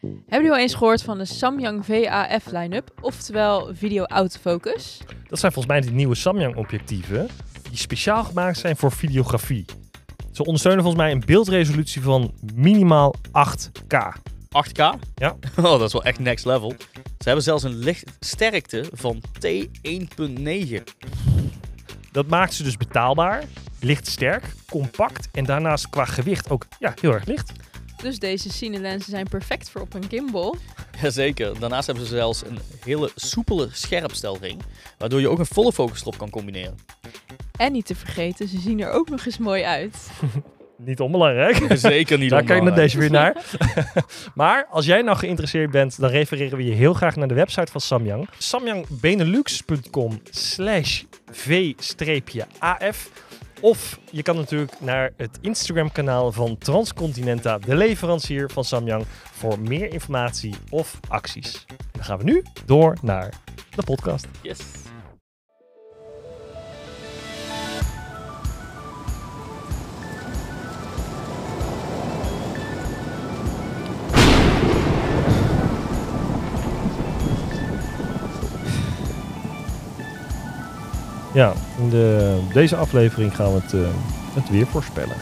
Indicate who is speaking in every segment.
Speaker 1: Hebben jullie al eens gehoord van de Samyang VAF line-up, oftewel video autofocus?
Speaker 2: Dat zijn volgens mij de nieuwe Samyang-objectieven die speciaal gemaakt zijn voor videografie. Ze ondersteunen volgens mij een beeldresolutie van minimaal 8K.
Speaker 3: 8K?
Speaker 2: Ja.
Speaker 3: Oh, dat is wel echt next level. Ze hebben zelfs een lichtsterkte van T1.9.
Speaker 2: Dat maakt ze dus betaalbaar, licht sterk, compact en daarnaast qua gewicht ook ja, heel erg licht.
Speaker 1: Dus deze cinelensen zijn perfect voor op een gimbal.
Speaker 3: Jazeker. Daarnaast hebben ze zelfs een hele soepele scherpstelring, waardoor je ook een volle focus erop kan combineren.
Speaker 1: En niet te vergeten, ze zien er ook nog eens mooi uit.
Speaker 2: Niet onbelangrijk.
Speaker 3: Zeker niet
Speaker 2: Daar kijk ik
Speaker 3: onbelangrijk.
Speaker 2: met deze weer naar. maar als jij nou geïnteresseerd bent, dan refereren we je heel graag naar de website van Samyang. Samyangbenelux.com slash v-af. Of je kan natuurlijk naar het Instagram kanaal van Transcontinenta, de leverancier van Samyang, voor meer informatie of acties. Dan gaan we nu door naar de podcast.
Speaker 3: Yes.
Speaker 2: Ja, in de, deze aflevering gaan we het, eh, het weer voorspellen.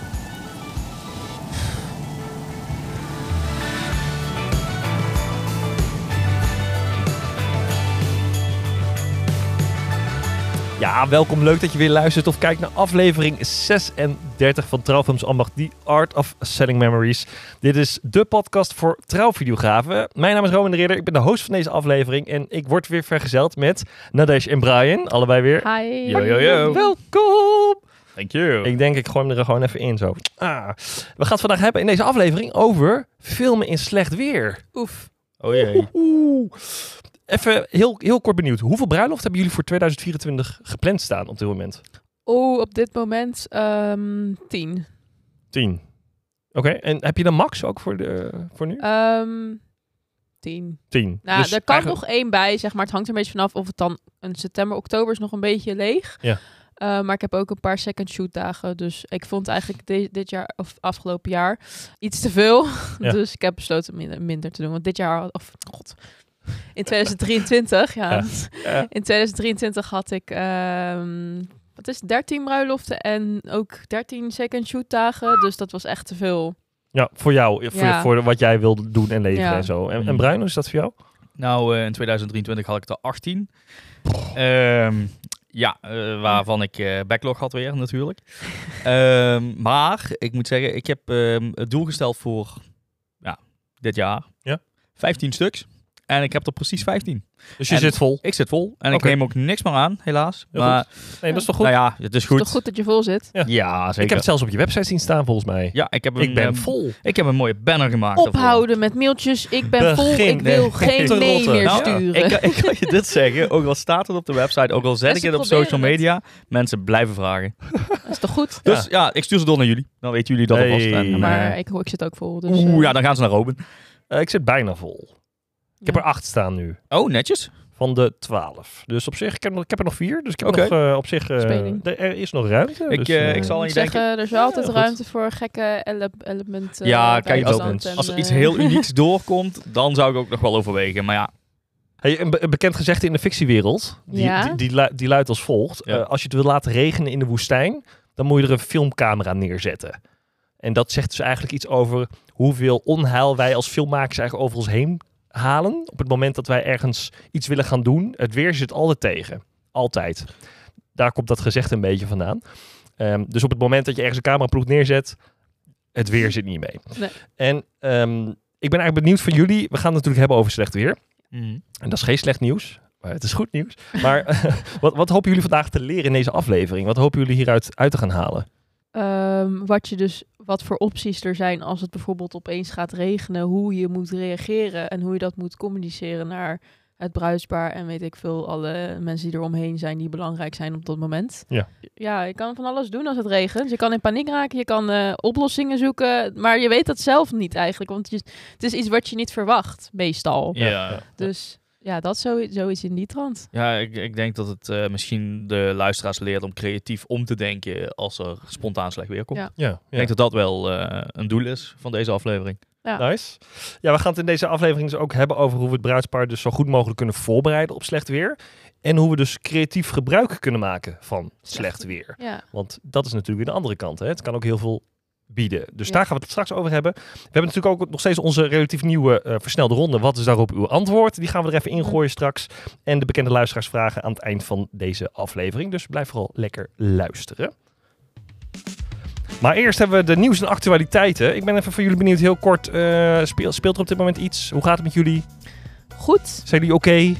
Speaker 2: Ja, welkom. Leuk dat je weer luistert of kijkt naar aflevering 36 van Trouwfilms Ambacht, The Art of Selling Memories. Dit is de podcast voor trouwvideografen. Mijn naam is Roman de Ridder, ik ben de host van deze aflevering en ik word weer vergezeld met Nadesh en Brian, allebei weer.
Speaker 1: Hi.
Speaker 3: Yo, yo, yo.
Speaker 2: Welkom!
Speaker 3: Thank you.
Speaker 2: Ik denk, ik gooi hem er gewoon even in zo. Ah. We gaan het vandaag hebben in deze aflevering over filmen in slecht weer.
Speaker 1: Oef.
Speaker 3: Oh jee.
Speaker 2: Oeh. Even heel, heel kort benieuwd. Hoeveel bruiloft hebben jullie voor 2024 gepland staan op dit moment?
Speaker 1: Oh, op dit moment ehm tien.
Speaker 2: Tien. Oké, en heb je dan max ook voor, de, voor nu?
Speaker 1: Ehm tien.
Speaker 2: Tien.
Speaker 1: Nou,
Speaker 2: Dus
Speaker 1: er kan
Speaker 2: eigenlijk-
Speaker 1: nog één bij, zeg maar. Het hangt er een beetje vanaf of het dan een september, oktober is nog een beetje leeg.
Speaker 2: Ja.
Speaker 1: Eh, maar ik heb ook een paar second shoot dagen. Dus ik vond eigenlijk de- dit jaar, of afgelopen jaar, iets te veel.
Speaker 2: Ja.
Speaker 1: Dus ik heb besloten minder, minder te doen. Want dit jaar, of god, in 2023, ja.
Speaker 2: Ja. Ja.
Speaker 1: In 2023 had ik, ehm, wat is het, 13 bruiloften en ook 13 second shoot dagen. Dus dat was echt te veel.
Speaker 2: Ja, voor jou. Voor,
Speaker 1: Ja.
Speaker 2: voor wat jij wilde doen en leven
Speaker 1: Ja.
Speaker 2: en zo. En, en Bruin, hoe is dat voor jou?
Speaker 3: Nou, eh, in 2023 had ik er 18. Ehm, ja, eh, waarvan ik eh, backlog had weer natuurlijk. Ehm, maar ik moet zeggen, ik heb ehm, het doel gesteld voor ja, dit jaar.
Speaker 2: Ja.
Speaker 3: 15 stuks. En ik heb er precies 15.
Speaker 2: Dus je
Speaker 3: En-
Speaker 2: zit vol.
Speaker 3: Ik zit vol. En ik
Speaker 2: Oké.
Speaker 3: neem ook niks meer aan, helaas.
Speaker 2: Heel
Speaker 3: maar
Speaker 2: Nee, dat is toch goed?
Speaker 3: nou ja, het is goed.
Speaker 1: Toch goed dat je vol zit.
Speaker 2: ja.
Speaker 3: Ja,
Speaker 2: ik
Speaker 3: zeker.
Speaker 2: heb het zelfs op je website zien staan volgens mij.
Speaker 3: ja, ik heb een,
Speaker 2: ik ben
Speaker 3: ehm,
Speaker 2: vol.
Speaker 3: Ik heb een mooie banner gemaakt. daarvoor.
Speaker 1: Ophouden met mailtjes. Ik ben vol.
Speaker 2: Begin
Speaker 1: Ik wil
Speaker 2: met
Speaker 1: geen
Speaker 2: te
Speaker 1: nee
Speaker 2: rotten.
Speaker 1: meer
Speaker 2: Nou,
Speaker 1: sturen.
Speaker 3: Ik, kan- ik kan je dit zeggen, ook al staat het op de website, ook al zet
Speaker 1: Ja,
Speaker 3: ik
Speaker 1: ze
Speaker 3: het op
Speaker 1: proberen
Speaker 3: social
Speaker 1: het.
Speaker 3: media, mensen blijven vragen.
Speaker 1: Dat is toch goed?
Speaker 3: Dus ja. ik stuur ze door naar jullie. Dan weten jullie dat
Speaker 2: Hey.
Speaker 3: alvast. En, eh,
Speaker 1: Maar ik, hoor- ik zit ook vol. Dus, eh,
Speaker 3: Oeh, ja, dan gaan ze naar Robin.
Speaker 2: Eh, ik zit bijna vol. Ik heb
Speaker 1: Ja.
Speaker 2: er acht staan nu.
Speaker 3: Oh, netjes.
Speaker 2: van de 12. Dus op zich, ik heb, nog- ik heb er nog vier. Dus ik heb
Speaker 3: Oké.
Speaker 2: nog eh, op zich. eh,
Speaker 1: Speling.
Speaker 2: er, er is nog ruimte.
Speaker 3: Ik,
Speaker 2: dus,
Speaker 3: eh,
Speaker 2: eh,
Speaker 3: ik zal aan
Speaker 1: ik
Speaker 3: je
Speaker 1: zeg,
Speaker 3: denken.
Speaker 1: eh, er is wel altijd
Speaker 2: Ja, goed.
Speaker 1: ruimte voor gekke ele elementen.
Speaker 3: ja,
Speaker 1: eh,
Speaker 3: kijk, als,
Speaker 1: bijstand en,
Speaker 3: als er
Speaker 1: eh,
Speaker 3: iets heel unieks doorkomt, dan zou ik ook nog wel overwegen. Maar ja,
Speaker 2: Hey, een, be- een bekend gezegde in de fictiewereld. Die,
Speaker 1: Ja?
Speaker 2: die, die, lu- die luidt als volgt:
Speaker 3: Ja.
Speaker 2: Eh, Als je het wil laten regenen in de woestijn, dan moet je er een filmcamera neerzetten. En dat zegt dus eigenlijk iets over hoeveel onheil wij als filmmakers eigenlijk over ons heen halen. Op het moment dat wij ergens iets willen gaan doen. Het weer zit altijd tegen. Altijd. Daar komt dat gezegde een beetje vandaan. Ehm, dus op het moment dat je ergens een cameraploeg neerzet, het weer zit niet mee.
Speaker 1: Nee.
Speaker 2: En ehm, ik ben eigenlijk benieuwd van jullie. We gaan het natuurlijk hebben over slecht weer.
Speaker 3: mm,
Speaker 2: En dat is geen slecht nieuws, maar het is goed nieuws. Maar wat, wat hopen jullie vandaag te leren in deze aflevering? Wat hopen jullie hieruit uit te gaan halen?
Speaker 1: ehm, wat je dus, wat voor opties er zijn als het bijvoorbeeld opeens gaat regenen, hoe je moet reageren en hoe je dat moet communiceren naar het bruidspaar en weet ik veel, alle mensen die er omheen zijn die belangrijk zijn op dat moment.
Speaker 2: Ja.
Speaker 1: ja, je kan van alles doen als het regent. Je kan in paniek raken, je kan eh, oplossingen zoeken, maar je weet dat zelf niet eigenlijk, want je, het is iets wat je niet verwacht, meestal.
Speaker 3: ja.
Speaker 2: ja.
Speaker 3: ja.
Speaker 1: Dus ja, dat zo, zoiets in die trant.
Speaker 3: ik, ik denk dat het eh, misschien de luisteraars leert om creatief om te denken als er spontaan slecht weer komt.
Speaker 1: Ja.
Speaker 2: Ja,
Speaker 3: Ik denk dat dat wel eh, een doel is van deze aflevering.
Speaker 1: Ja.
Speaker 2: Nice. Ja, we gaan het in deze aflevering dus ook hebben over hoe we het bruidspaar dus zo goed mogelijk kunnen voorbereiden op slecht weer. En hoe we dus creatief gebruik kunnen maken van slecht weer.
Speaker 1: Ja,
Speaker 2: Want dat is natuurlijk weer de andere kant. Hè? Het kan ook heel veel bieden. Dus
Speaker 1: Ja.
Speaker 2: daar gaan we het straks over hebben. We hebben natuurlijk ook nog steeds onze relatief nieuwe eh, versnelde ronde. Wat is daarop uw antwoord? Die gaan we er even ingooien straks. En de bekende luisteraarsvragen aan het eind van deze aflevering. Dus blijf vooral lekker luisteren. Maar eerst hebben we de nieuws en actualiteiten. Ik ben even van jullie benieuwd, heel kort. eh, speel- speelt er op dit moment iets? Hoe gaat het met jullie?
Speaker 1: goed.
Speaker 2: Zijn jullie oké?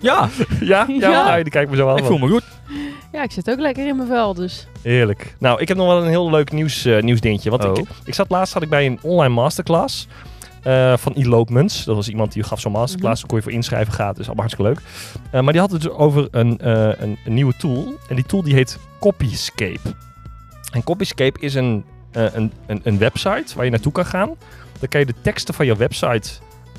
Speaker 3: Ja,
Speaker 2: ja? Ja?
Speaker 1: Ja.
Speaker 2: ja? Die kijkt me zo aan.
Speaker 3: ik voel me goed.
Speaker 1: Ja, ik zit ook lekker in mijn vel, dus.
Speaker 2: Heerlijk. Nou, ik heb nog wel een heel leuk nieuws, eh nieuwsdingetje. Want
Speaker 3: Oh.
Speaker 2: ik, ik zat laatst zat ik bij een online masterclass eh, van Eloopments. Dat was iemand die gaf zo'n masterclass. Daar kon je voor inschrijven gaat. Dus allemaal hartstikke leuk. Eh, maar die had het dus over een, eh, een, een nieuwe tool. En die tool die heet Copyscape. En Copyscape is een, eh, een, een, een website waar je naartoe kan gaan. Dan kan je de teksten van je website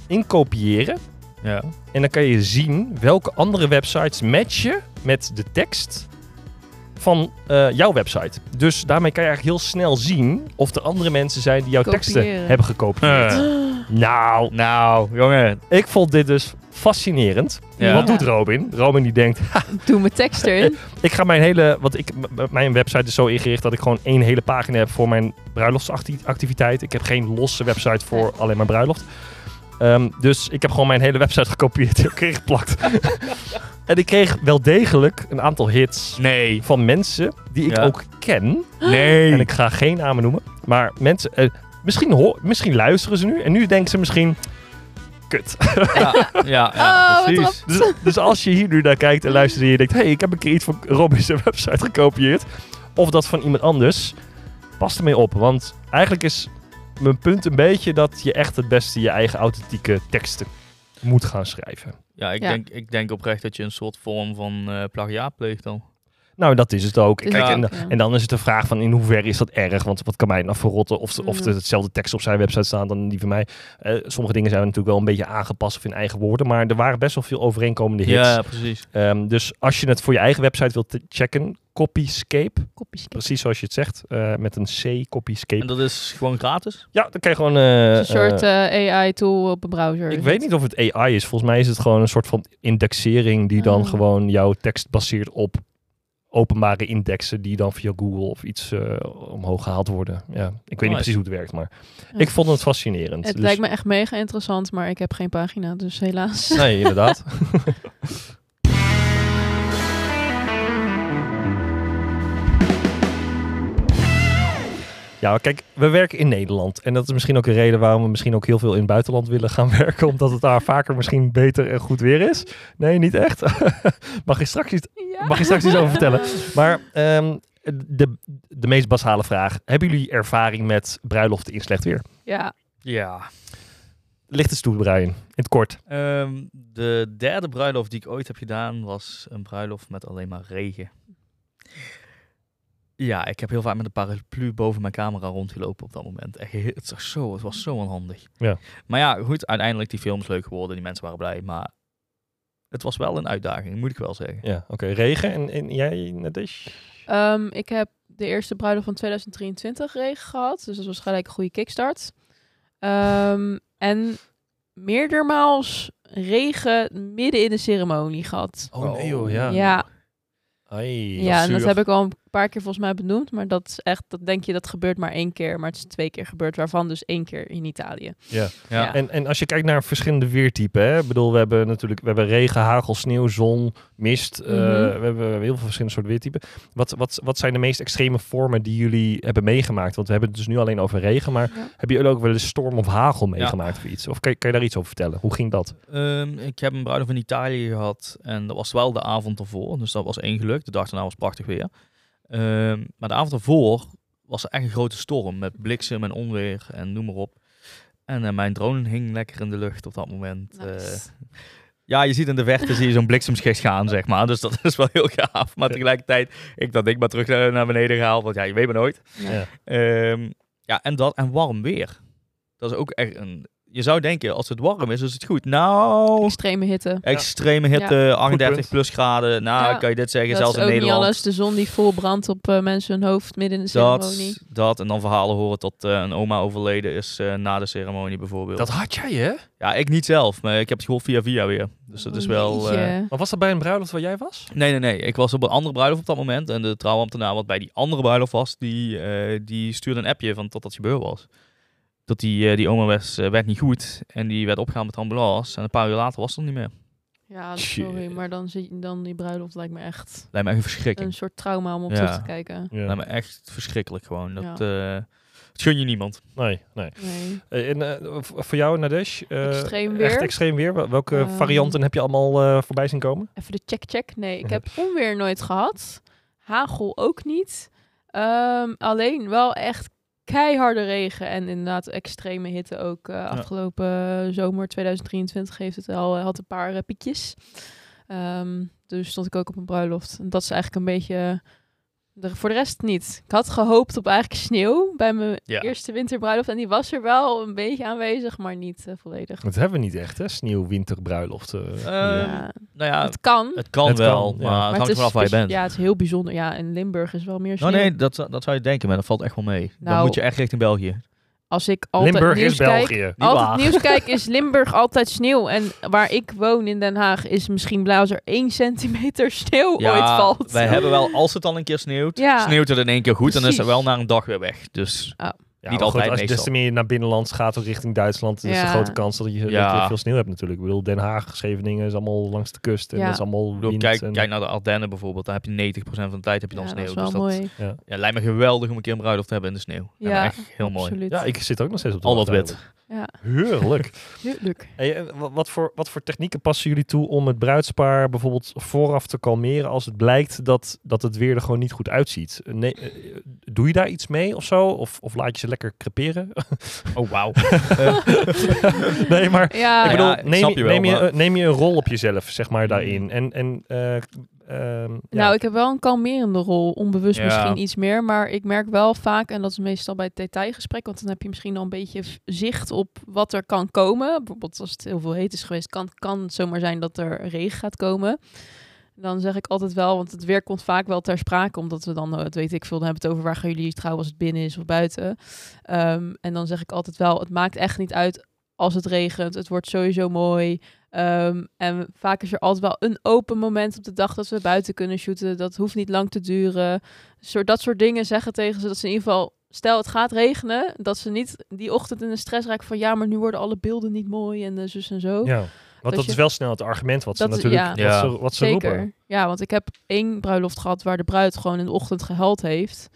Speaker 2: inkopiëren.
Speaker 3: Ja.
Speaker 2: En dan kan je zien welke andere websites matchen met de tekst van eh, jouw website. Dus daarmee kan je eigenlijk heel snel zien of er andere mensen zijn die jouw teksten
Speaker 1: Kopiëren.
Speaker 2: hebben gekopieerd.
Speaker 3: Eh.
Speaker 2: Nou,
Speaker 3: Nou, jongen.
Speaker 2: ik vond dit dus fascinerend.
Speaker 3: Ja.
Speaker 2: Wat doet Robin? Robin die denkt,
Speaker 1: Doe mijn tekst erin.
Speaker 2: ik ga mijn hele, want ik, m- m- mijn website is zo ingericht dat ik gewoon één hele pagina heb voor mijn bruiloftsactiviteit. Ik heb geen losse website voor alleen mijn bruiloft. Ehm, dus ik heb gewoon mijn hele website gekopieerd en elkaar geplakt. en ik kreeg wel degelijk een aantal hits
Speaker 3: Nee.
Speaker 2: van mensen die ik
Speaker 3: Ja.
Speaker 2: ook ken.
Speaker 3: Nee.
Speaker 2: En ik ga geen namen noemen. Maar mensen, eh, misschien, ho- misschien luisteren ze nu en nu denken ze misschien... Kut.
Speaker 3: Ja, ja, ja
Speaker 1: Oh, wat
Speaker 3: precies.
Speaker 2: Dus, dus als je hier nu naar kijkt en luistert en je denkt... hé, hey, ik heb een keer iets van Robin's website gekopieerd... of dat van iemand anders, pas ermee op. Want eigenlijk is mijn punt een beetje dat je echt het beste... je eigen authentieke teksten moet gaan schrijven.
Speaker 3: Ja, ik,
Speaker 1: Ja.
Speaker 3: Denk, ik denk oprecht dat je een soort vorm van eh plagiaat pleegt dan.
Speaker 2: Nou, dat is het ook.
Speaker 1: Is
Speaker 2: Kijk,
Speaker 3: het
Speaker 2: en,
Speaker 1: ook, ja.
Speaker 2: en dan is het de vraag van in hoeverre is dat erg? Want wat kan mij nou verrotten? Of, of
Speaker 1: Mm.
Speaker 2: er hetzelfde tekst op zijn website staan dan die van mij. Eh, sommige dingen zijn natuurlijk wel een beetje aangepast of in eigen woorden. Maar er waren best wel veel overeenkomende hits.
Speaker 3: Ja, precies.
Speaker 2: Ehm, dus als je het voor je eigen website wilt te- checken, Copyscape,
Speaker 1: Kopjes.
Speaker 2: precies zoals je het zegt, eh, met een C, Copyscape.
Speaker 3: En dat is gewoon gratis?
Speaker 2: Ja, dan kan je gewoon... eh,
Speaker 1: Een soort eh,
Speaker 2: eh,
Speaker 1: AI-tool op een browser.
Speaker 2: ik weet niet of het AI is. Volgens mij is het gewoon een soort van indexering die dan
Speaker 1: Ah.
Speaker 2: gewoon jouw tekst baseert op openbare indexen die dan via Google of iets eh, omhoog gehaald worden. Ja, ik weet niet
Speaker 3: Nice.
Speaker 2: precies hoe het werkt, maar
Speaker 1: Ja.
Speaker 2: ik vond het fascinerend.
Speaker 1: Het
Speaker 2: Dus-
Speaker 1: lijkt me echt mega interessant, maar ik heb geen pagina, dus helaas.
Speaker 2: Nee, inderdaad. Ja, kijk, we werken in Nederland. En dat is misschien ook een reden waarom we misschien ook heel veel in het buitenland willen gaan werken. Omdat het daar vaker misschien beter en goed weer is. Nee, niet echt. Mag je straks iets,
Speaker 1: Ja.
Speaker 2: mag je straks iets over vertellen. Maar ehm, de, de meest basale vraag. Hebben jullie ervaring met bruiloften in slecht weer?
Speaker 1: Ja,
Speaker 3: Ja.
Speaker 2: Licht eens toe, Brian. In het kort.
Speaker 3: Ehm, de derde bruiloft die ik ooit heb gedaan was een bruiloft met alleen maar regen. Ja, ik heb heel vaak met een paraplu boven mijn camera rondgelopen op dat moment. Echt, heel- het, was zo, het was zo onhandig.
Speaker 2: Ja.
Speaker 3: Maar ja, goed, uiteindelijk die film is leuk geworden, die mensen waren blij, maar het was wel een uitdaging, moet ik wel zeggen.
Speaker 2: Ja, oké. Regen. En, en jij, Nadesh?
Speaker 1: Ehm, ik heb de eerste bruiloft van 2023 regen gehad, dus dat was gelijk een goede kickstart. Ehm, en meerdermaals regen midden in de ceremonie gehad.
Speaker 3: Oh, nee, joh, ja.
Speaker 1: ja,
Speaker 2: Ai,
Speaker 1: ja, en dat
Speaker 3: zuur.
Speaker 1: heb ik al een paar keer volgens mij benoemd, maar dat is echt, dat denk je dat gebeurt maar één keer, maar het is twee keer gebeurd, waarvan dus één keer in Italië.
Speaker 3: Ja.
Speaker 1: Ja.
Speaker 2: En, en als je kijkt naar verschillende weertypen, hè? Ik bedoel, we hebben natuurlijk we hebben regen, hagel, sneeuw, zon, mist. eh,
Speaker 1: Mhm.
Speaker 2: we hebben heel veel verschillende soorten weertypen. Wat, wat, wat zijn de meest extreme vormen die jullie hebben meegemaakt? Want we hebben het dus nu alleen over regen, maar
Speaker 1: Ja.
Speaker 2: hebben jullie ook wel eens storm of hagel meegemaakt of iets? Of kan, je- kan je daar iets over vertellen? Hoe ging dat?
Speaker 3: Ehm, ik heb een bruiloft in Italië gehad en dat was wel de avond ervoor, dus dat was één geluk. De dag daarna was prachtig weer. Ehm, maar de avond ervoor was er echt een grote storm met bliksem en onweer en noem maar op. En eh, mijn drone hing lekker in de lucht op dat moment. Eh,
Speaker 1: Nice.
Speaker 3: ja, je ziet in de verte zie je zo'n bliksemschicht gaan, zeg maar. Dus dat is wel heel gaaf. Maar tegelijkertijd, ik dat ding maar terug eh, naar beneden gehaald, want ja, je weet maar nooit.
Speaker 1: Ja.
Speaker 2: Ja.
Speaker 3: Ehm, ja, en dat en warm weer. Dat is ook echt een je zou denken, als het warm is, is het goed. Nou,
Speaker 1: Extreme hitte.
Speaker 3: extreme hitte,
Speaker 2: Goed
Speaker 3: 38
Speaker 2: punt.
Speaker 3: plus graden. Nou,
Speaker 1: Ja,
Speaker 3: kan je dit zeggen,
Speaker 1: Dat
Speaker 3: zelfs
Speaker 1: is
Speaker 3: in
Speaker 1: ook niet
Speaker 3: Nederland.
Speaker 1: alles. De zon die vol brandt op eh, mensen hun hoofd midden in de ceremonie.
Speaker 3: Dat, dat, en dan verhalen horen dat eh, een oma overleden is eh, na de ceremonie bijvoorbeeld.
Speaker 2: Dat had jij, hè?
Speaker 3: Ja, ik niet zelf, maar ik heb het gehoord via via weer. Dus dat is wel... eh,
Speaker 1: Jeetje.
Speaker 2: Maar was dat bij een bruiloft waar jij was?
Speaker 3: Nee, nee, nee. Ik was op een andere bruiloft op dat moment. En de trouwambtenaar wat bij die andere bruiloft was, die, eh, die stuurde een appje van tot dat gebeurd was. Dat die, eh, die oma was, eh, werd niet goed en die werd opgehaald met de ambulance. En een paar uur later was het er niet meer.
Speaker 1: Ja, sorry,
Speaker 2: Shit.
Speaker 1: maar dan, zie, dan die bruiloft lijkt me echt
Speaker 3: Lijkt me echt een verschrikking.
Speaker 1: een soort trauma om op
Speaker 3: Ja.
Speaker 1: terug te kijken.
Speaker 2: Ja.
Speaker 3: Lijkt me echt verschrikkelijk gewoon. Dat, eh, het gun je niemand.
Speaker 2: Nee, nee.
Speaker 1: Nee.
Speaker 2: Eh, En eh, v- voor jou, Nadesh? eh,
Speaker 1: Extreem
Speaker 2: Echt
Speaker 1: weer.
Speaker 2: extreem weer. Wel- Welke
Speaker 1: Ehm.
Speaker 2: varianten heb je allemaal eh, voorbij zien komen?
Speaker 1: Even de check-check. Nee, ik heb onweer nooit gehad. Hagel ook niet. Ehm, alleen wel echt keiharde regen en inderdaad extreme hitte ook. eh, Afgelopen eh, zomer 2023 heeft het al, had een paar eh, piekjes. Ehm, dus stond ik ook op een bruiloft. En dat is eigenlijk een beetje... de- voor de rest niet. Ik had gehoopt op eigenlijk sneeuw bij mijn
Speaker 3: Ja.
Speaker 1: eerste winterbruiloft. En die was er wel een beetje aanwezig, maar niet eh, volledig.
Speaker 2: Dat hebben we niet echt, hè? Sneeuw, winter, bruiloft. eh, hier.
Speaker 3: Ehm,
Speaker 1: Ja,
Speaker 3: Nou ja, het,
Speaker 1: het kan,
Speaker 3: kan
Speaker 2: Het kan,
Speaker 3: wel,
Speaker 2: ja.
Speaker 3: maar het hangt
Speaker 1: is
Speaker 3: vanaf waar je
Speaker 1: speci-
Speaker 3: bent.
Speaker 1: Ja, het is heel bijzonder. Ja, en Limburg is wel meer
Speaker 3: Nou
Speaker 1: sneeuw.
Speaker 3: nee, dat, dat zou je denken, maar dat valt echt wel mee. Dan
Speaker 1: Nou.
Speaker 3: moet je echt richting België.
Speaker 1: Als ik altijd
Speaker 2: Limburg
Speaker 1: nieuws
Speaker 2: is
Speaker 1: kijk,
Speaker 2: België.
Speaker 3: Niet
Speaker 1: altijd
Speaker 3: waar.
Speaker 1: nieuws kijk is Limburg altijd sneeuw. En waar ik woon in Den Haag is misschien blauw als er één centimeter sneeuw ooit valt.
Speaker 3: wij hebben wel, als het dan een keer sneeuwt,
Speaker 1: Ja.
Speaker 3: sneeuwt het in één keer goed en dan is het
Speaker 1: Precies.
Speaker 3: wel na een dag weer weg. Dus
Speaker 2: Ja,
Speaker 3: Niet
Speaker 2: maar
Speaker 3: altijd
Speaker 2: als je des
Speaker 3: meestal.
Speaker 2: te meer naar binnenland gaat of richting Duitsland, is
Speaker 1: Ja.
Speaker 2: de grote kans dat je, dat je
Speaker 3: Ja.
Speaker 2: veel sneeuw hebt natuurlijk. Ik bedoel, Den Haag, Scheveningen is allemaal langs de kust en
Speaker 1: Ja.
Speaker 2: dat is allemaal
Speaker 3: Ik bedoel,
Speaker 2: wind
Speaker 3: kijk,
Speaker 2: en-
Speaker 3: kijk naar de Ardennen bijvoorbeeld. Daar heb je 90% van de tijd heb je dan
Speaker 1: ja,
Speaker 3: sneeuw.
Speaker 1: dat is wel
Speaker 3: dus dat
Speaker 1: mooi.
Speaker 3: Ja, lijkt me geweldig om een keer een bruiloft te hebben in de sneeuw. Ja,
Speaker 1: Ja,
Speaker 3: echt heel mooi.
Speaker 1: Absoluut.
Speaker 2: Ja, ik zit ook nog steeds op de
Speaker 3: Al dat
Speaker 2: wacht
Speaker 3: wit.
Speaker 2: eigenlijk.
Speaker 1: Ja,
Speaker 2: Heerlijk.
Speaker 1: tuurlijk.
Speaker 2: Hey, en wa- wat, voor, wat voor technieken passen jullie toe om het bruidspaar bijvoorbeeld vooraf te kalmeren als het blijkt dat, dat het weer er gewoon niet goed uitziet? Nee, eh, doe je daar iets mee of zo? Of, of laat je ze lekker creperen?
Speaker 3: Oh, wauw.
Speaker 2: nee, maar
Speaker 1: Ja,
Speaker 2: ik
Speaker 3: Ah, ja,
Speaker 2: bedoel,
Speaker 3: ik
Speaker 2: neem,
Speaker 3: snap
Speaker 2: je
Speaker 3: je wel,
Speaker 2: neem, je,
Speaker 3: maar- Hmm.
Speaker 2: eh, neem je een rol op jezelf, zeg maar, daarin. En, en eh, ehm, ja.
Speaker 1: Nou, ik heb wel een kalmerende rol. Onbewust
Speaker 3: Ja.
Speaker 1: misschien iets meer. Maar ik merk wel vaak, en dat is meestal bij het detailgesprek, want dan heb je misschien al een beetje v- zicht op wat er kan komen. Bijvoorbeeld als het heel veel heet is geweest, kan, kan het zomaar zijn dat er regen gaat komen. Dan zeg ik altijd wel, want het weer komt vaak wel ter sprake, omdat we dan, eh, het weet ik veel, dan hebben we het over waar gaan jullie trouwen als het binnen is of buiten. Ehm, en dan zeg ik altijd wel, het maakt echt niet uit als het regent. Het wordt sowieso mooi. Ehm, en vaak is er altijd wel een open moment op de dag dat we buiten kunnen shooten. Dat hoeft niet lang te duren. Soort, dat soort dingen zeggen tegen ze dat ze in ieder geval, stel het gaat regenen, dat ze niet die ochtend in de stress raken van ja, maar nu worden alle beelden niet mooi en eh, zus en zo.
Speaker 2: Ja, want dat,
Speaker 1: je-
Speaker 2: is wel snel het argument wat ze
Speaker 1: Dat is-
Speaker 2: natuurlijk
Speaker 1: ja.
Speaker 2: wat
Speaker 3: Ja.
Speaker 2: ze, wat ze
Speaker 1: Zeker.
Speaker 2: roepen.
Speaker 1: Ja, want ik heb één bruiloft gehad waar de bruid gewoon in de ochtend gehuild heeft.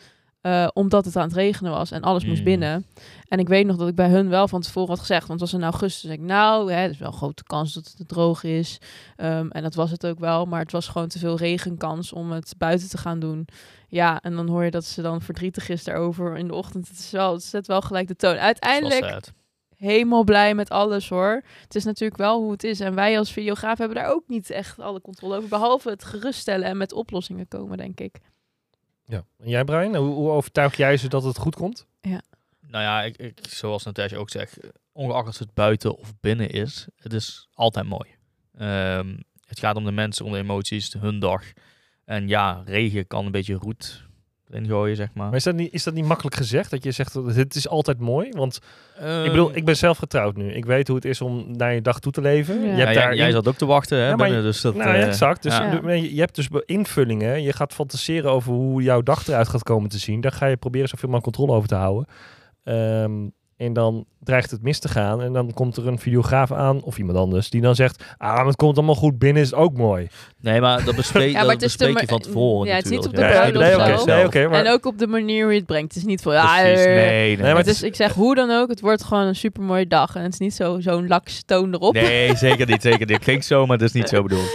Speaker 1: eh, omdat het aan het regenen was en alles moest
Speaker 3: Mm.
Speaker 1: binnen. En ik weet nog dat ik bij hun wel van tevoren had gezegd. Want het was in augustus. Dus ik, nou, hè, er is wel een grote kans dat het droog is. Ehm, en dat was het ook wel. Maar het was gewoon te veel regenkans om het buiten te gaan doen. Ja, en dan hoor je dat ze dan verdrietig is daarover in de ochtend. Het, is wel, het zet wel gelijk de toon. Uiteindelijk
Speaker 3: eh,
Speaker 1: helemaal blij met alles hoor. Het is natuurlijk wel hoe het is. En wij als videograaf hebben daar ook niet echt alle controle over. Behalve het geruststellen en met oplossingen komen, denk ik.
Speaker 2: Ja. En jij, Brian, hoe, hoe overtuig jij ze dat het goed komt?
Speaker 3: Nou ja, ik, ik, zoals Natasja ook zegt, ongeacht of het buiten of binnen is, het is altijd mooi. Ehm, het gaat om de mensen, om de emoties, hun dag. En ja, regen kan een beetje roet ingooien, zeg maar.
Speaker 2: Maar is dat, niet, is dat niet makkelijk gezegd? Dat je zegt, dat het is altijd mooi? Want
Speaker 3: Ehm,
Speaker 1: Eh,
Speaker 2: ik bedoel, ik ben zelf getrouwd nu. Ik weet hoe het is om naar je dag toe te leven.
Speaker 1: Ja.
Speaker 2: Je
Speaker 1: Ja,
Speaker 2: hebt
Speaker 3: ja,
Speaker 2: daar
Speaker 3: jij, jij zat ook te wachten, hè,
Speaker 2: Ja, maar
Speaker 3: binnen, dus dat...
Speaker 2: Nou, ja,
Speaker 3: eh,
Speaker 2: exact. Dus
Speaker 1: ja.
Speaker 2: je- Je, je hebt dus be- invullingen. Je gaat fantaseren over hoe jouw dag eruit gaat komen te zien. Daar ga je proberen zoveel mogelijk controle over te houden. Ehm, en dan dreigt het mis te gaan. En dan komt er een videograaf aan, of iemand anders, die dan zegt... Ah, maar het komt allemaal goed. Binnen is het ook mooi.
Speaker 3: Nee, maar dat bespreek,
Speaker 1: Ja, maar
Speaker 3: dat
Speaker 1: het is de
Speaker 3: bespreek
Speaker 1: ma-
Speaker 3: je van tevoren
Speaker 1: Ja, het is niet op
Speaker 3: natuurlijk.
Speaker 1: de
Speaker 3: Ja,
Speaker 1: bruiloft
Speaker 2: nee,
Speaker 1: of
Speaker 2: oké.
Speaker 1: zo.
Speaker 2: nee, oké, maar,
Speaker 1: En ook op de manier hoe je het brengt. Het is niet van, ja,
Speaker 3: Precies,
Speaker 1: eh,
Speaker 3: nee, nee.
Speaker 2: maar
Speaker 1: Het is, ik zeg hoe dan ook, het wordt gewoon een super mooie dag. En het is niet zo- zo'n laks toon erop. Nee.
Speaker 3: Nee, zeker niet, zeker niet. Klinkt zo, maar dat is niet zo bedoeld.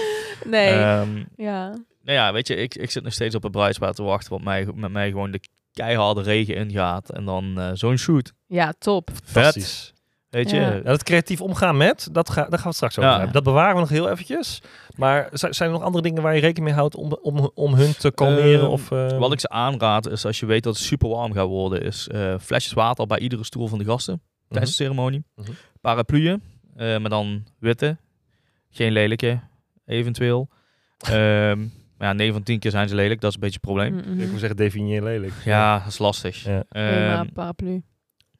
Speaker 3: Ehm,
Speaker 1: ja.
Speaker 3: nou ja, weet je, ik, ik zit nog steeds op het bruidspaar te wachten, wat mij, met mij gewoon de keiharde regen ingaat en dan eh, zo'n shoot.
Speaker 1: ja, top.
Speaker 3: Vet,
Speaker 2: Fantastisch.
Speaker 3: weet je.
Speaker 1: Ja.
Speaker 2: Ja, dat creatief omgaan met, dat ga, daar gaan we het straks over
Speaker 3: Ja.
Speaker 2: hebben. Dat bewaren we nog heel eventjes. Maar zi- zijn er nog andere dingen waar je rekening mee houdt om, om, om hun te kalmeren?
Speaker 3: Ehm,
Speaker 2: of, eh,
Speaker 3: Wat ik ze aanraad is, als je weet dat het super warm gaat worden, is eh, flesjes water bij iedere stoel van de gasten. tijdens de ceremonie.
Speaker 2: Mhm.
Speaker 3: Parapluën, eh, maar dan witte. Geen lelijke, eventueel. Ehm, maar ja, 9 van 10 keer zijn ze lelijk, dat is een beetje het probleem.
Speaker 1: Mm-mm.
Speaker 2: Ik moet zeggen, definieer lelijk.
Speaker 3: Ja, dat is lastig.
Speaker 2: Ja.
Speaker 1: Hema
Speaker 3: Ehm,
Speaker 1: paraplu.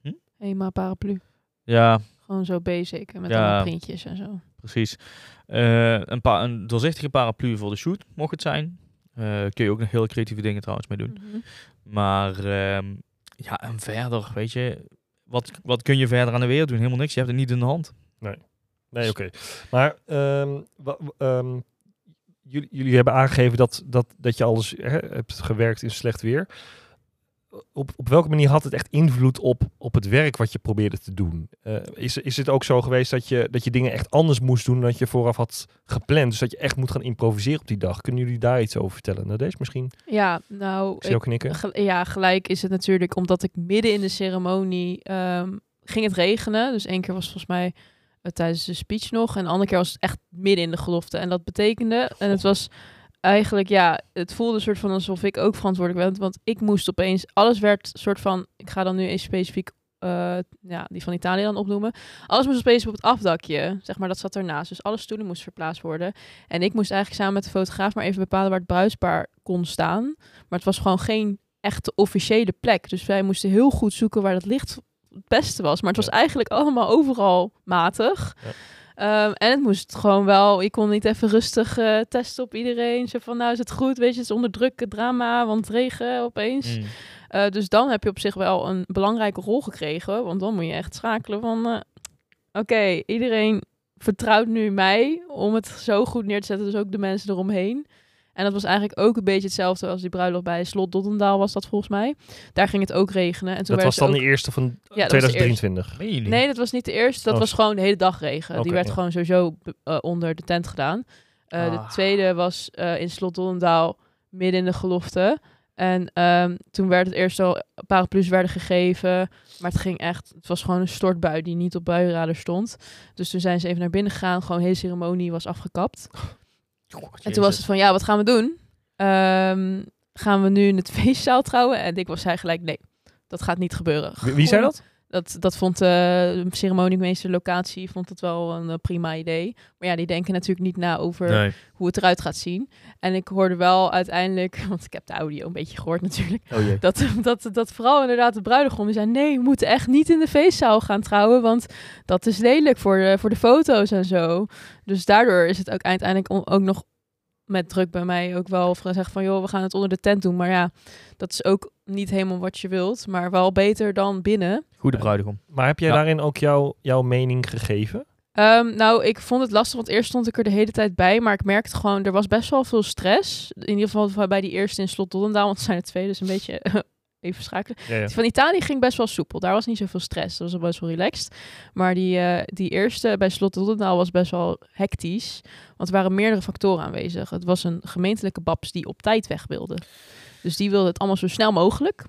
Speaker 3: Hm?
Speaker 1: Hema paraplu.
Speaker 3: ja,
Speaker 1: Gewoon zo basic. en Met
Speaker 3: Ja.
Speaker 1: allemaal printjes en zo.
Speaker 3: precies. Eh, een, pa- een doorzichtige paraplu voor de shoot, mocht het zijn. Eh, kun je ook nog heel creatieve dingen trouwens mee doen.
Speaker 1: Mhm.
Speaker 3: Maar ehm, ja, en verder, weet je, wat, wat kun je verder aan de wereld doen? Helemaal niks, je hebt het niet in de hand.
Speaker 2: Nee, oké. Maar ehm, wa- wa- ehm, jullie, jullie hebben aangegeven dat, dat, dat je alles hè, hebt gewerkt in slecht weer. Op, op welke manier had het echt invloed op, op het werk wat je probeerde te doen? Eh, is, is het ook zo geweest dat je, dat je dingen echt anders moest doen dan je vooraf had gepland? Dus dat je echt moet gaan improviseren op die dag. Kunnen jullie daar iets over vertellen? Nou, deze misschien.
Speaker 1: Ja, nou...
Speaker 2: Ik zie jou knikken.
Speaker 1: Gel- Ja, gelijk is het natuurlijk omdat ik midden in de ceremonie ehm, ging het regenen. Dus één keer was volgens mij eh, tijdens de speech nog. En de andere keer was het echt midden in de gelofte. En dat betekende, en het was eigenlijk, ja, het voelde een soort van alsof ik ook verantwoordelijk ben. Want ik moest opeens, alles werd soort van, ik ga dan nu eens specifiek eh, ja, die van Italië dan opnoemen. Alles moest opeens op het afdakje, zeg maar, dat zat ernaast. Dus alle stoelen moesten verplaatst worden. En ik moest eigenlijk samen met de fotograaf maar even bepalen waar het bruisbaar kon staan. Maar het was gewoon geen echte officiële plek. Dus wij moesten heel goed zoeken waar dat licht het beste was. Maar het was
Speaker 2: Ja.
Speaker 1: eigenlijk allemaal overal matig.
Speaker 2: Ja.
Speaker 1: Ehm, en het moest gewoon wel, ik kon niet even rustig eh, testen op iedereen. Zo van, nou is het goed, weet je, het is onder druk, het drama, want het regen opeens.
Speaker 2: Mm.
Speaker 3: Hmm.
Speaker 1: Eh, dus dan heb je op zich wel een belangrijke rol gekregen. Want dan moet je echt schakelen van... eh, Oké, iedereen vertrouwt nu mij om het zo goed neer te zetten. Dus ook de mensen eromheen. En dat was eigenlijk ook een beetje hetzelfde als die bruiloft bij Slot Dottendaal was dat volgens mij. Daar ging het ook regenen. En toen
Speaker 2: Dat was
Speaker 1: werd
Speaker 2: dan
Speaker 1: ook...
Speaker 2: de eerste van
Speaker 1: was de eerste.
Speaker 2: 2023.
Speaker 3: Meen je niet?
Speaker 1: Nee, dat was niet de eerste. Dat
Speaker 2: Oh,
Speaker 1: was gewoon de hele dag regen.
Speaker 2: Oké,
Speaker 1: die werd
Speaker 2: ja.
Speaker 1: gewoon sowieso eh, onder de tent gedaan. Eh,
Speaker 3: Ah.
Speaker 1: De tweede was eh, in Slot Dollendaal, midden in de gelofte. En ehm, toen werd het eerst al paraplu's werden gegeven. Maar het ging echt, het was gewoon een stortbui die niet op buienradar stond. Dus toen zijn ze even naar binnen gegaan. Gewoon de hele ceremonie was afgekapt. En toen was het van, ja, wat gaan we doen? Ehm, gaan we nu in het feestzaal trouwen? En ik was hij gelijk, nee, dat gaat niet gebeuren.
Speaker 2: Wie, wie zei
Speaker 1: Gewoon-
Speaker 2: dat?
Speaker 1: dat, dat vond eh, de ceremoniemeester locatie vond het wel een eh, prima idee. Maar ja, die denken natuurlijk niet na over
Speaker 3: Nee.
Speaker 1: hoe het eruit gaat zien. En ik hoorde wel uiteindelijk, want ik heb de audio een beetje gehoord natuurlijk,
Speaker 2: Oh jee.
Speaker 1: dat, dat, dat vooral inderdaad de bruidegom die zei, nee, we moeten echt niet in de feestzaal gaan trouwen, want dat is lelijk voor de, voor de foto's en zo. Dus daardoor is het ook uiteindelijk o- ook nog met druk bij mij ook wel gezegd van, joh, we gaan het onder de tent doen. Maar ja, dat is ook niet helemaal wat je wilt, maar wel beter dan binnen.
Speaker 3: Goede bruidegom.
Speaker 2: Maar heb jij
Speaker 3: Ja.
Speaker 2: daarin ook jouw, jouw mening gegeven?
Speaker 1: Ehm, nou, ik vond het lastig, want eerst stond ik er de hele tijd bij. Maar ik merkte gewoon, er was best wel veel stress. In ieder geval bij die eerste in Slot Doddendaal, want het zijn er twee, dus een beetje even schakelen.
Speaker 2: Ja, ja.
Speaker 1: Die van Italië ging best wel soepel. Daar was niet zoveel stress. Dat was wel best wel relaxed. Maar die, eh, die eerste bij Slot Rottendaal was best wel hectisch. Want er waren meerdere factoren aanwezig. Het was een gemeentelijke babs die op tijd weg wilde. Dus die wilde het allemaal zo snel mogelijk.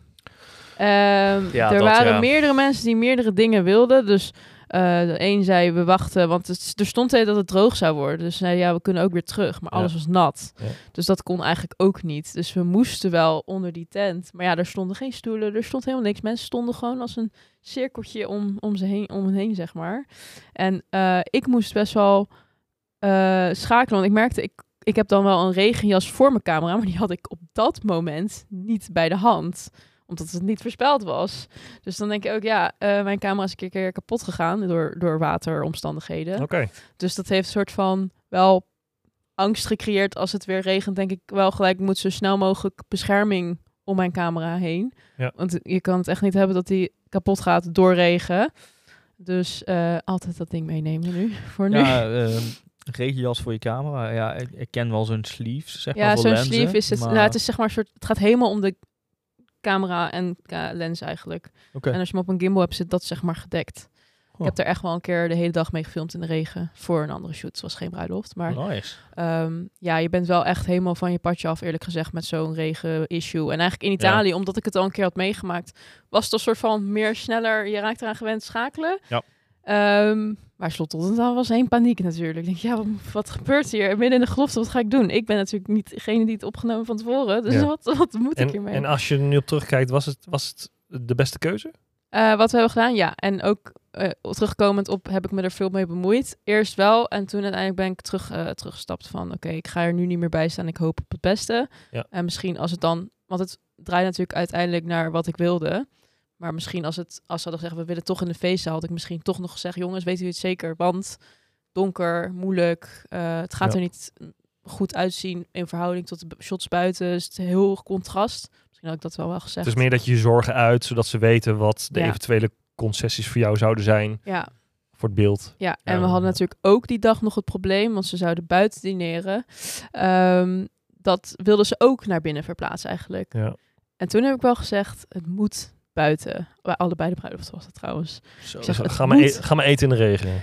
Speaker 1: Ehm,
Speaker 3: Ja,
Speaker 1: er
Speaker 3: dat,
Speaker 1: waren
Speaker 3: ja.
Speaker 1: meerdere mensen die meerdere dingen wilden. Dus eh, de een zei we wachten, want het, er stond tegen dat het droog zou worden. Dus zei ja, we kunnen ook weer terug. Maar
Speaker 2: Ja.
Speaker 1: alles was nat. Dus dat kon eigenlijk ook niet. Dus we moesten wel onder die tent. Maar ja, er stonden geen stoelen, er stond helemaal niks. Mensen stonden gewoon als een cirkeltje om, om, ze heen, om hen heen, zeg maar. En eh, ik moest best wel eh, schakelen. Want ik merkte, ik, ik heb dan wel een regenjas voor mijn camera. Maar die had ik op dat moment niet bij de hand. Omdat het niet voorspeld was. Dus dan denk ik ook, ja, eh, mijn camera is een keer- keer kapot gegaan door, door wateromstandigheden.
Speaker 2: Oké.
Speaker 1: Dus dat heeft een soort van wel angst gecreëerd als het weer regent. Denk ik wel gelijk ik moet zo snel mogelijk bescherming om mijn camera heen.
Speaker 2: Ja.
Speaker 1: Want je kan het echt niet hebben dat die kapot gaat door regen. Dus eh, altijd dat ding meenemen nu. Voor nu.
Speaker 3: Ja, ehm, regenjas voor je camera. Ja, ik, ik ken wel zo'n sleeves, zeg maar,
Speaker 1: ja,
Speaker 3: voor
Speaker 1: zo'n
Speaker 3: lenzen,
Speaker 1: sleeve is het.
Speaker 3: maar-
Speaker 1: Nou, het is zeg maar een soort. Het gaat helemaal om de camera en eh, lens eigenlijk.
Speaker 3: Oké.
Speaker 1: En als je hem op een gimbal hebt, zit dat zeg maar gedekt.
Speaker 3: Oh.
Speaker 1: Ik heb er echt wel een keer de hele dag mee gefilmd in de regen voor een andere shoot. Het was geen bruiloft, maar
Speaker 3: Nice.
Speaker 1: Ehm, ja, je bent wel echt helemaal van je padje af, eerlijk gezegd, met zo'n regen-issue. En eigenlijk in Italië, omdat ik het al een keer had meegemaakt, was het een soort van meer sneller, je raakt eraan gewend schakelen.
Speaker 2: Ja.
Speaker 1: Ehm, maar slot tot en toe was heen paniek natuurlijk. Ik denk, ja, wat, wat gebeurt hier? Midden in de gelofte, wat ga ik doen? Ik ben natuurlijk niet degene die het opgenomen van tevoren, dus
Speaker 2: Ja.
Speaker 1: wat, wat moet ik
Speaker 2: En,
Speaker 1: hiermee?
Speaker 2: en als je er nu op terugkijkt, was het, was het de beste keuze?
Speaker 1: Eh, wat we hebben gedaan, ja. En ook eh, terugkomend op heb ik me er veel mee bemoeid. Eerst wel en toen uiteindelijk ben ik terug, eh, teruggestapt van... oké, ik ga er nu niet meer bij staan. Ik hoop op het beste.
Speaker 2: Ja.
Speaker 1: En misschien als het dan... Want het draait natuurlijk uiteindelijk naar wat ik wilde. Maar misschien als, het, als ze hadden gezegd... we willen toch in de feestzaal... had ik misschien toch nog gezegd... jongens, weet u het zeker? Want donker, moeilijk. eh, het gaat
Speaker 2: Ja.
Speaker 1: er niet goed uitzien in verhouding tot de b- shots buiten. Dus het is heel contrast. Misschien had ik dat wel wel gezegd.
Speaker 2: Het is meer dat je je zorgen uit, zodat ze weten wat de
Speaker 1: Ja.
Speaker 2: eventuele concessies voor jou zouden zijn
Speaker 1: Ja,
Speaker 2: voor het beeld.
Speaker 1: Ja, en
Speaker 2: Ja,
Speaker 1: we hadden
Speaker 2: ja.
Speaker 1: natuurlijk ook die dag nog het probleem, want ze zouden buiten dineren. Ehm, dat wilden ze ook naar binnen verplaatsen eigenlijk.
Speaker 2: Ja.
Speaker 1: En toen heb ik wel gezegd, het moet buiten. Bij allebei de bruiloft was dat trouwens.
Speaker 2: Zo,
Speaker 1: zeg, het
Speaker 2: ga, maar e-
Speaker 1: moet.
Speaker 2: ga maar eten in de regen.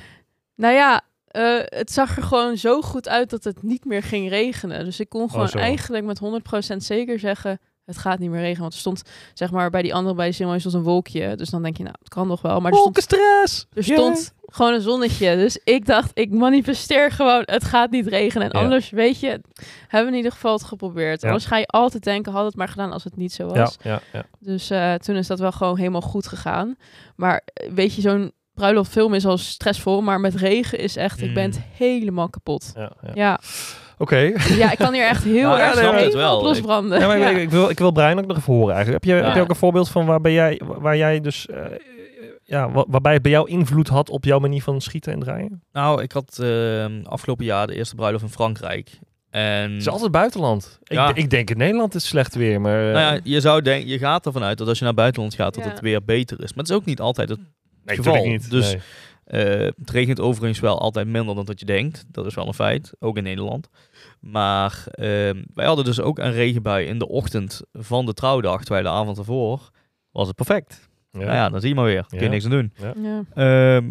Speaker 1: Nou ja, eh, het zag er gewoon zo goed uit dat het niet meer ging regenen. Dus ik kon gewoon
Speaker 2: zo.
Speaker 1: eigenlijk met 100% zeker zeggen, het gaat niet meer regenen. Want er stond, zeg maar, bij die andere, bij de cerimonie stond een wolkje. Dus dan denk je, nou, het kan nog wel.
Speaker 2: Oh.
Speaker 1: Maar er stond
Speaker 2: stress!
Speaker 1: Er stond gewoon een zonnetje. Dus ik dacht, ik manifesteer gewoon, het gaat niet regenen. En
Speaker 2: Ja.
Speaker 1: anders, weet je, hebben we in ieder geval het geprobeerd.
Speaker 2: Ja.
Speaker 1: Anders ga je altijd denken, had het maar gedaan als het niet zo was.
Speaker 2: Ja, ja, ja.
Speaker 1: Dus eh, toen is dat wel gewoon helemaal goed gegaan. Maar eh, weet je, zo'n bruiloftfilm is al stressvol. Maar met regen is echt, ik ben het
Speaker 2: Mm.
Speaker 1: helemaal kapot.
Speaker 2: ja, ja.
Speaker 1: Ja.
Speaker 2: Oké.
Speaker 1: ja, ik kan hier echt heel
Speaker 3: Nou, ja,
Speaker 1: erg
Speaker 3: nee, maar-
Speaker 1: helemaal
Speaker 3: het wel.
Speaker 1: op losbranden.
Speaker 2: Ja, maar
Speaker 1: Ja.
Speaker 2: Ik, ik wil, ik wil Brian ook nog even horen eigenlijk. Heb je,
Speaker 3: Ja.
Speaker 2: heb je ook een voorbeeld van waar, ben jij, waar jij dus... eh, ja, wa- waarbij het bij jou invloed had op jouw manier van schieten en draaien?
Speaker 3: Nou, ik had ehm, afgelopen jaar de eerste bruiloft in Frankrijk. En,
Speaker 2: Het is altijd buitenland.
Speaker 3: Ja.
Speaker 2: Ik, ik denk in Nederland is het slecht weer, maar... eh,
Speaker 3: nou ja, je, zou denken, je gaat ervan uit dat als je naar buitenland gaat, dat
Speaker 1: Ja.
Speaker 3: het weer beter is. Maar het is ook niet altijd. Het,
Speaker 2: nee,
Speaker 3: geval.
Speaker 2: natuurlijk niet.
Speaker 3: Dus-
Speaker 2: nee.
Speaker 3: eh, het regent overigens wel altijd minder dan dat je denkt. Dat is wel een feit, ook in Nederland. Maar ehm, wij hadden dus ook een regenbui in de ochtend van de trouwdag, terwijl de avond ervoor was het perfect.
Speaker 2: Ja.
Speaker 3: Nou ja, dan zie je maar weer. Kun je
Speaker 2: Ja.
Speaker 3: niks aan doen.
Speaker 1: Ja.
Speaker 3: Ehm,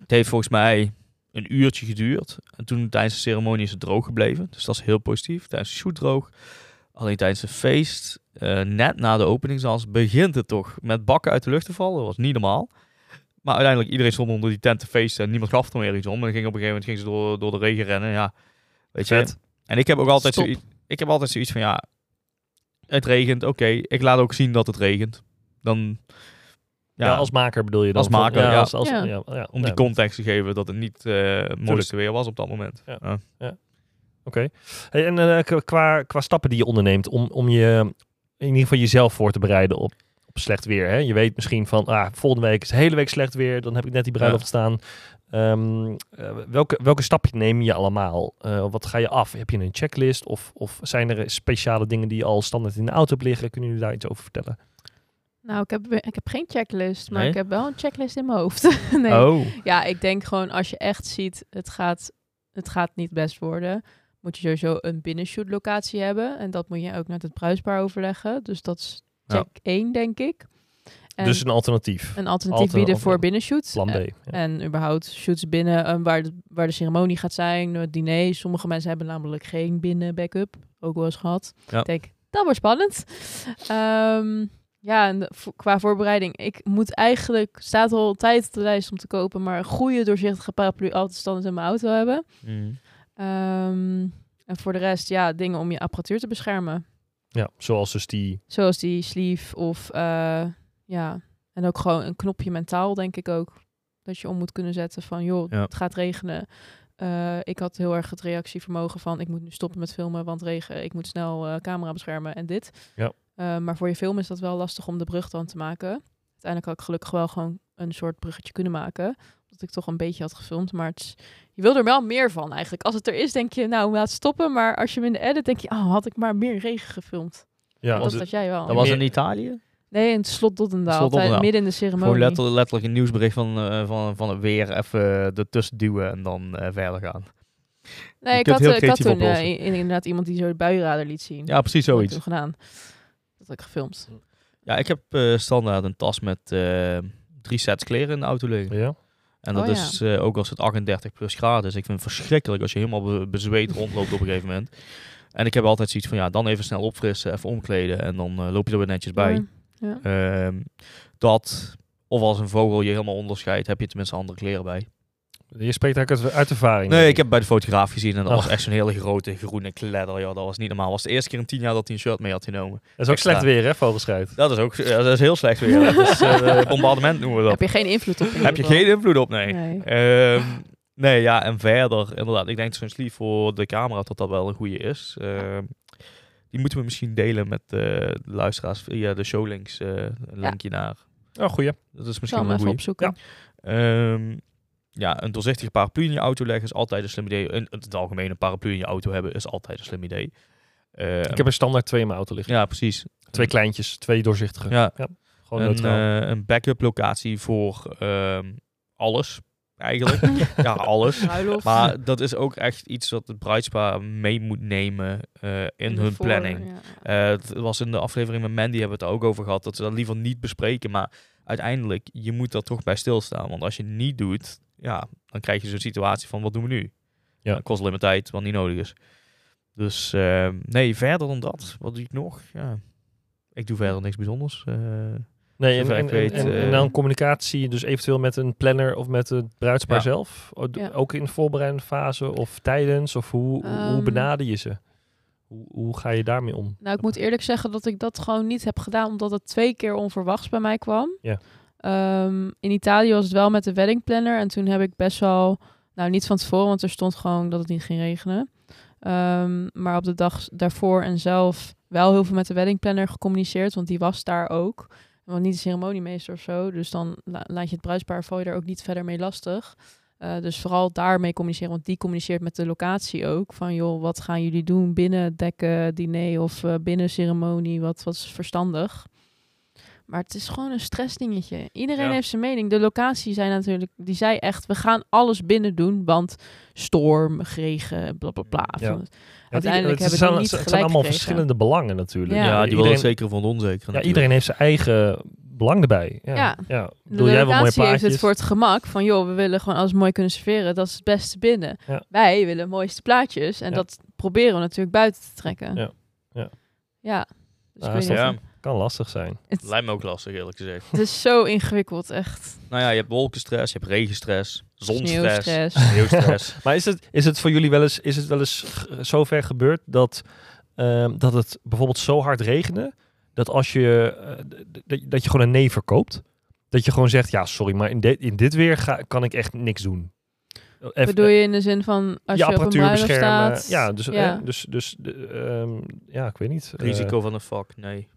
Speaker 3: het heeft volgens mij een uurtje geduurd. En toen tijdens de ceremonie is het droog gebleven. Dus dat is heel positief. Tijdens de shoot droog. Alleen tijdens het feest, eh, net na de openingsdans, begint het toch met bakken uit de lucht te vallen. Dat was niet normaal. Maar uiteindelijk, iedereen stond onder die tent te feesten en niemand gaf er meer iets om. En dan ging op een gegeven moment ging ze door, door de regen rennen. Ja, weet je.
Speaker 2: Vet.
Speaker 3: En ik heb ook altijd,
Speaker 1: Stop.
Speaker 3: zoiets, ik heb altijd zoiets van, ja, het regent, oké. Ik laat ook zien dat het regent. Dan,
Speaker 2: Ja, als maker bedoel je dan?
Speaker 3: Als maker, ja.
Speaker 2: als- als-
Speaker 1: Ja.
Speaker 3: om
Speaker 2: nee.
Speaker 3: die context te geven dat het niet eh
Speaker 2: Tuurlijk.
Speaker 3: moeilijk weer was op dat moment.
Speaker 2: Ja.
Speaker 3: Ja.
Speaker 2: Oké. Hey, en eh, k- qua, qua stappen die je onderneemt om, om je in ieder geval jezelf voor te bereiden op, op slecht weer. Hè? Je weet misschien van, ah, volgende week is de hele week slecht weer. Dan heb ik net die bruiloft staan. Ehm, eh, welke, welke stapje neem je allemaal? Eh, wat ga je af? Heb je een checklist? Of, of zijn er speciale dingen die je al standaard in de auto hebt liggen? Kunnen jullie daar iets over vertellen?
Speaker 1: Nou, ik heb, ik heb geen checklist, maar
Speaker 3: Nee?
Speaker 1: ik heb wel een checklist in mijn hoofd. nee.
Speaker 3: Oh.
Speaker 1: Ja, ik denk gewoon als je echt ziet, het gaat, het gaat niet best worden. Moet je sowieso een binnenshootlocatie hebben. En dat moet je ook met het bruisbaar overleggen. Dus dat is
Speaker 3: Ja.
Speaker 1: check 1, denk ik. En
Speaker 2: dus een alternatief.
Speaker 1: een alternatief
Speaker 2: alter-
Speaker 1: bieden
Speaker 2: of
Speaker 1: voor
Speaker 2: een
Speaker 1: binnenshoots.
Speaker 2: Plan B.
Speaker 1: En,
Speaker 2: ja.
Speaker 1: en überhaupt shoots binnen eh, waar, de, waar de ceremonie gaat zijn, het diner. Sommige mensen hebben namelijk geen binnen backup. Ook wel eens gehad.
Speaker 3: Ja.
Speaker 1: Ik denk, dat wordt spannend. Ehm, ja, en de- vo- qua voorbereiding. Ik moet eigenlijk, staat al tijd op de lijst om te kopen, maar een goede doorzichtige paraplu altijd standaard in mijn auto hebben.
Speaker 3: Mm.
Speaker 1: Ehm, en voor de rest, ja, dingen om je apparatuur te beschermen.
Speaker 2: Ja, zoals dus die...
Speaker 1: Zoals die sleeve of, eh, ja, en ook gewoon een knopje mentaal, denk ik ook. Dat je om moet kunnen zetten van, joh,
Speaker 3: Ja.
Speaker 1: het gaat regenen. Eh, ik had heel erg het reactievermogen van, ik moet nu stoppen met filmen, want regen, ik moet snel eh, camera beschermen en dit.
Speaker 2: Ja.
Speaker 1: Eh, maar voor je film is dat wel lastig om de brug dan te maken. Uiteindelijk had ik gelukkig wel gewoon een soort bruggetje kunnen maken. Omdat ik toch een beetje had gefilmd. Maar het is- je wil er wel meer van eigenlijk. Als het er is, denk je, nou, laat stoppen. Maar als je hem in de edit, denk je, oh, had ik maar meer regen gefilmd.
Speaker 2: Ja,
Speaker 1: dat
Speaker 2: want-
Speaker 1: had jij wel.
Speaker 3: Dat was
Speaker 2: Meer-
Speaker 3: in Italië?
Speaker 1: Nee, in het slot Doddendaal.
Speaker 3: Slot
Speaker 1: tijd-
Speaker 3: Doddendaal.
Speaker 1: midden in de ceremonie.
Speaker 3: Gewoon letterlijk, letterlijk een nieuwsbericht van, eh, van, van het weer even ertussen duwen en dan eh, verder gaan.
Speaker 1: nee,
Speaker 3: je
Speaker 1: ik
Speaker 3: kunt
Speaker 1: had,
Speaker 3: heel
Speaker 1: eh, ik had
Speaker 3: creatief
Speaker 1: toen eh,
Speaker 3: oplossen.
Speaker 1: in- inderdaad iemand die zo de buienrader liet zien.
Speaker 3: Ja, precies
Speaker 1: Dat had ik
Speaker 3: zoiets.
Speaker 1: toen gedaan. Dat had ik gefilmd.
Speaker 3: Ja, ik heb eh, standaard een tas met eh, drie sets kleren in de auto liggen.
Speaker 2: Ja.
Speaker 3: En dat
Speaker 1: Oh, ja.
Speaker 3: is eh, ook als het 38 plus graden is. Ik vind het verschrikkelijk als je helemaal be- bezweet rondloopt op een gegeven moment. En ik heb altijd zoiets van, ja, dan even snel opfrissen, even omkleden en dan eh, loop je er weer netjes bij.
Speaker 1: Ja. Ja.
Speaker 3: Ehm, dat, of als een vogel je helemaal onderscheidt, heb je tenminste andere kleren bij.
Speaker 2: Je spreekt eigenlijk uit, uit ervaring.
Speaker 3: Nee, ik heb bij de fotograaf gezien en dat
Speaker 2: Oh.
Speaker 3: was echt zo'n hele grote groene kledder. Joh. Dat was niet normaal. Dat was de eerste keer in tien jaar dat hij een shirt mee had genomen.
Speaker 2: Dat is ook
Speaker 3: extra.
Speaker 2: slecht weer, hè, vogelschruit.
Speaker 3: Dat is ook ja, dat is heel slecht weer. Dat is eh, bombardement noemen we dat.
Speaker 1: Heb je geen invloed op in
Speaker 3: Heb je
Speaker 1: ieder
Speaker 3: geen invloed op? Nee.
Speaker 1: geval. Nee.
Speaker 3: Ehm, nee, ja, en verder, inderdaad. Ik denk dat zo'n sleeve voor de camera dat dat wel een goede is. Ehm, die moeten we misschien delen met eh, de luisteraars via de showlinks. eh, een linkje naar.
Speaker 2: Oh, goeie.
Speaker 3: Dat is
Speaker 1: Ik zal
Speaker 3: misschien
Speaker 1: hem
Speaker 3: wel een
Speaker 1: even
Speaker 3: goede.
Speaker 1: opzoeken.
Speaker 3: Ehm, ja, een doorzichtige paraplu in je auto leggen is altijd een slim idee. In het algemeen een paraplu in je auto hebben is altijd een slim idee. Ehm,
Speaker 2: Ik heb er standaard twee in mijn auto liggen.
Speaker 3: ja, precies.
Speaker 2: Twee kleintjes, twee doorzichtige.
Speaker 3: Ja,
Speaker 2: Gewoon
Speaker 3: een,
Speaker 2: neutraal.
Speaker 3: eh, een backup locatie voor ehm, alles eigenlijk. ja, alles.
Speaker 1: Bruiloft.
Speaker 3: Maar dat is ook echt iets wat het bruidspaar mee moet nemen eh, in,
Speaker 1: En
Speaker 3: hun
Speaker 1: ervoor,
Speaker 3: planning.
Speaker 1: ja.
Speaker 3: Eh, het was in de aflevering met Mandy hebben we het er ook over gehad. Dat ze dat liever niet bespreken. Maar uiteindelijk, je moet daar toch bij stilstaan. Want als je het niet doet, ja, dan krijg je zo'n situatie van wat doen we nu?
Speaker 2: Ja.
Speaker 3: Dat kost alleen maar tijd, wat niet nodig is. Dus eh, nee, verder dan dat. Wat doe ik nog? Ja. Ik doe verder niks bijzonders. eh.
Speaker 2: Nee, en,
Speaker 3: zover
Speaker 2: en,
Speaker 3: ik weet,
Speaker 2: en- en-
Speaker 3: eh,
Speaker 2: en dan communicatie, dus eventueel met een planner of met het bruidspaar
Speaker 3: Ja.
Speaker 2: zelf. O- d-
Speaker 1: Ja.
Speaker 2: Ook in de voorbereidende fase of tijdens, of hoe, hoe- hoe
Speaker 1: Ehm.
Speaker 2: benader je ze? Hoe, hoe ga je daarmee om?
Speaker 1: Nou, ik moet eerlijk zeggen dat ik dat gewoon niet heb gedaan, omdat het twee keer onverwachts bij mij kwam.
Speaker 2: Ja.
Speaker 1: Ehm, in Italië was het wel met de wedding planner en toen heb ik best wel, nou niet van tevoren, want er stond gewoon dat het niet ging regenen. Ehm, maar op de dag daarvoor en zelf wel heel veel met de wedding planner gecommuniceerd, want die was daar ook. Want niet de ceremoniemeester of zo, dus dan la- laat je het bruidspaar val je er ook niet verder mee lastig. Eh, dus vooral daarmee communiceren, want die communiceert met de locatie ook. Van joh, wat gaan jullie doen binnen dekken, diner of eh, binnen ceremonie? Wat, wat is verstandig? Maar het is gewoon een stressdingetje. Iedereen
Speaker 3: Ja.
Speaker 1: heeft zijn mening. De locatie zei natuurlijk, die zei echt, we gaan alles binnen doen, want storm, regen, bla bla bla.
Speaker 2: Ja.
Speaker 1: Van-
Speaker 2: Want i-
Speaker 1: Uiteindelijk hebben die
Speaker 2: het zijn,
Speaker 1: niet
Speaker 2: het zijn
Speaker 1: gelijk
Speaker 2: allemaal
Speaker 1: gekregen.
Speaker 2: verschillende belangen natuurlijk.
Speaker 1: Ja.
Speaker 3: ja, die wil
Speaker 2: iedereen,
Speaker 3: het zeker van onzeker.
Speaker 2: ja, iedereen heeft zijn eigen belang erbij. Ja,
Speaker 1: Ja.
Speaker 2: ja. ja.
Speaker 1: De
Speaker 2: Doe jij wel mooie
Speaker 1: locatie heeft
Speaker 2: plaatjes?
Speaker 1: het voor het gemak van, joh, we willen gewoon alles mooi kunnen serveren. Dat is het beste binnen.
Speaker 2: Ja.
Speaker 1: Wij willen de mooiste plaatjes en
Speaker 2: Ja.
Speaker 1: dat proberen we natuurlijk buiten te trekken.
Speaker 2: Ja. Ja.
Speaker 1: Ja. Dus
Speaker 2: Ja,
Speaker 1: ik weet
Speaker 2: is
Speaker 1: niet.
Speaker 2: dat-
Speaker 3: Ja,
Speaker 2: Kan lastig zijn.
Speaker 1: Het,
Speaker 3: lijkt me ook lastig eerlijk gezegd.
Speaker 1: het is zo ingewikkeld, echt.
Speaker 3: nou ja, je hebt wolkenstress, je hebt regenstress, zonstress,
Speaker 1: Sneeuwstress.
Speaker 3: sneeuwstress.
Speaker 2: Maar is het, is het voor jullie wel eens, is het wel eens g- zover gebeurd dat, ehm, dat het bijvoorbeeld zo hard regende, dat als je, eh, d- d- dat je gewoon een nee verkoopt? Dat je gewoon zegt, ja sorry, maar in, dit in dit weer ga, kan ik echt niks doen. Even- eh,
Speaker 1: Bedoel je in de zin van als je,
Speaker 2: je
Speaker 1: op een
Speaker 2: apparatuur
Speaker 1: bruiloft
Speaker 2: beschermen.
Speaker 1: staat?
Speaker 2: Ja, dus,
Speaker 1: ja.
Speaker 2: eh, dus, dus de, ehm, ja, ik weet niet. Eh,
Speaker 3: Risico van de fuck, nee.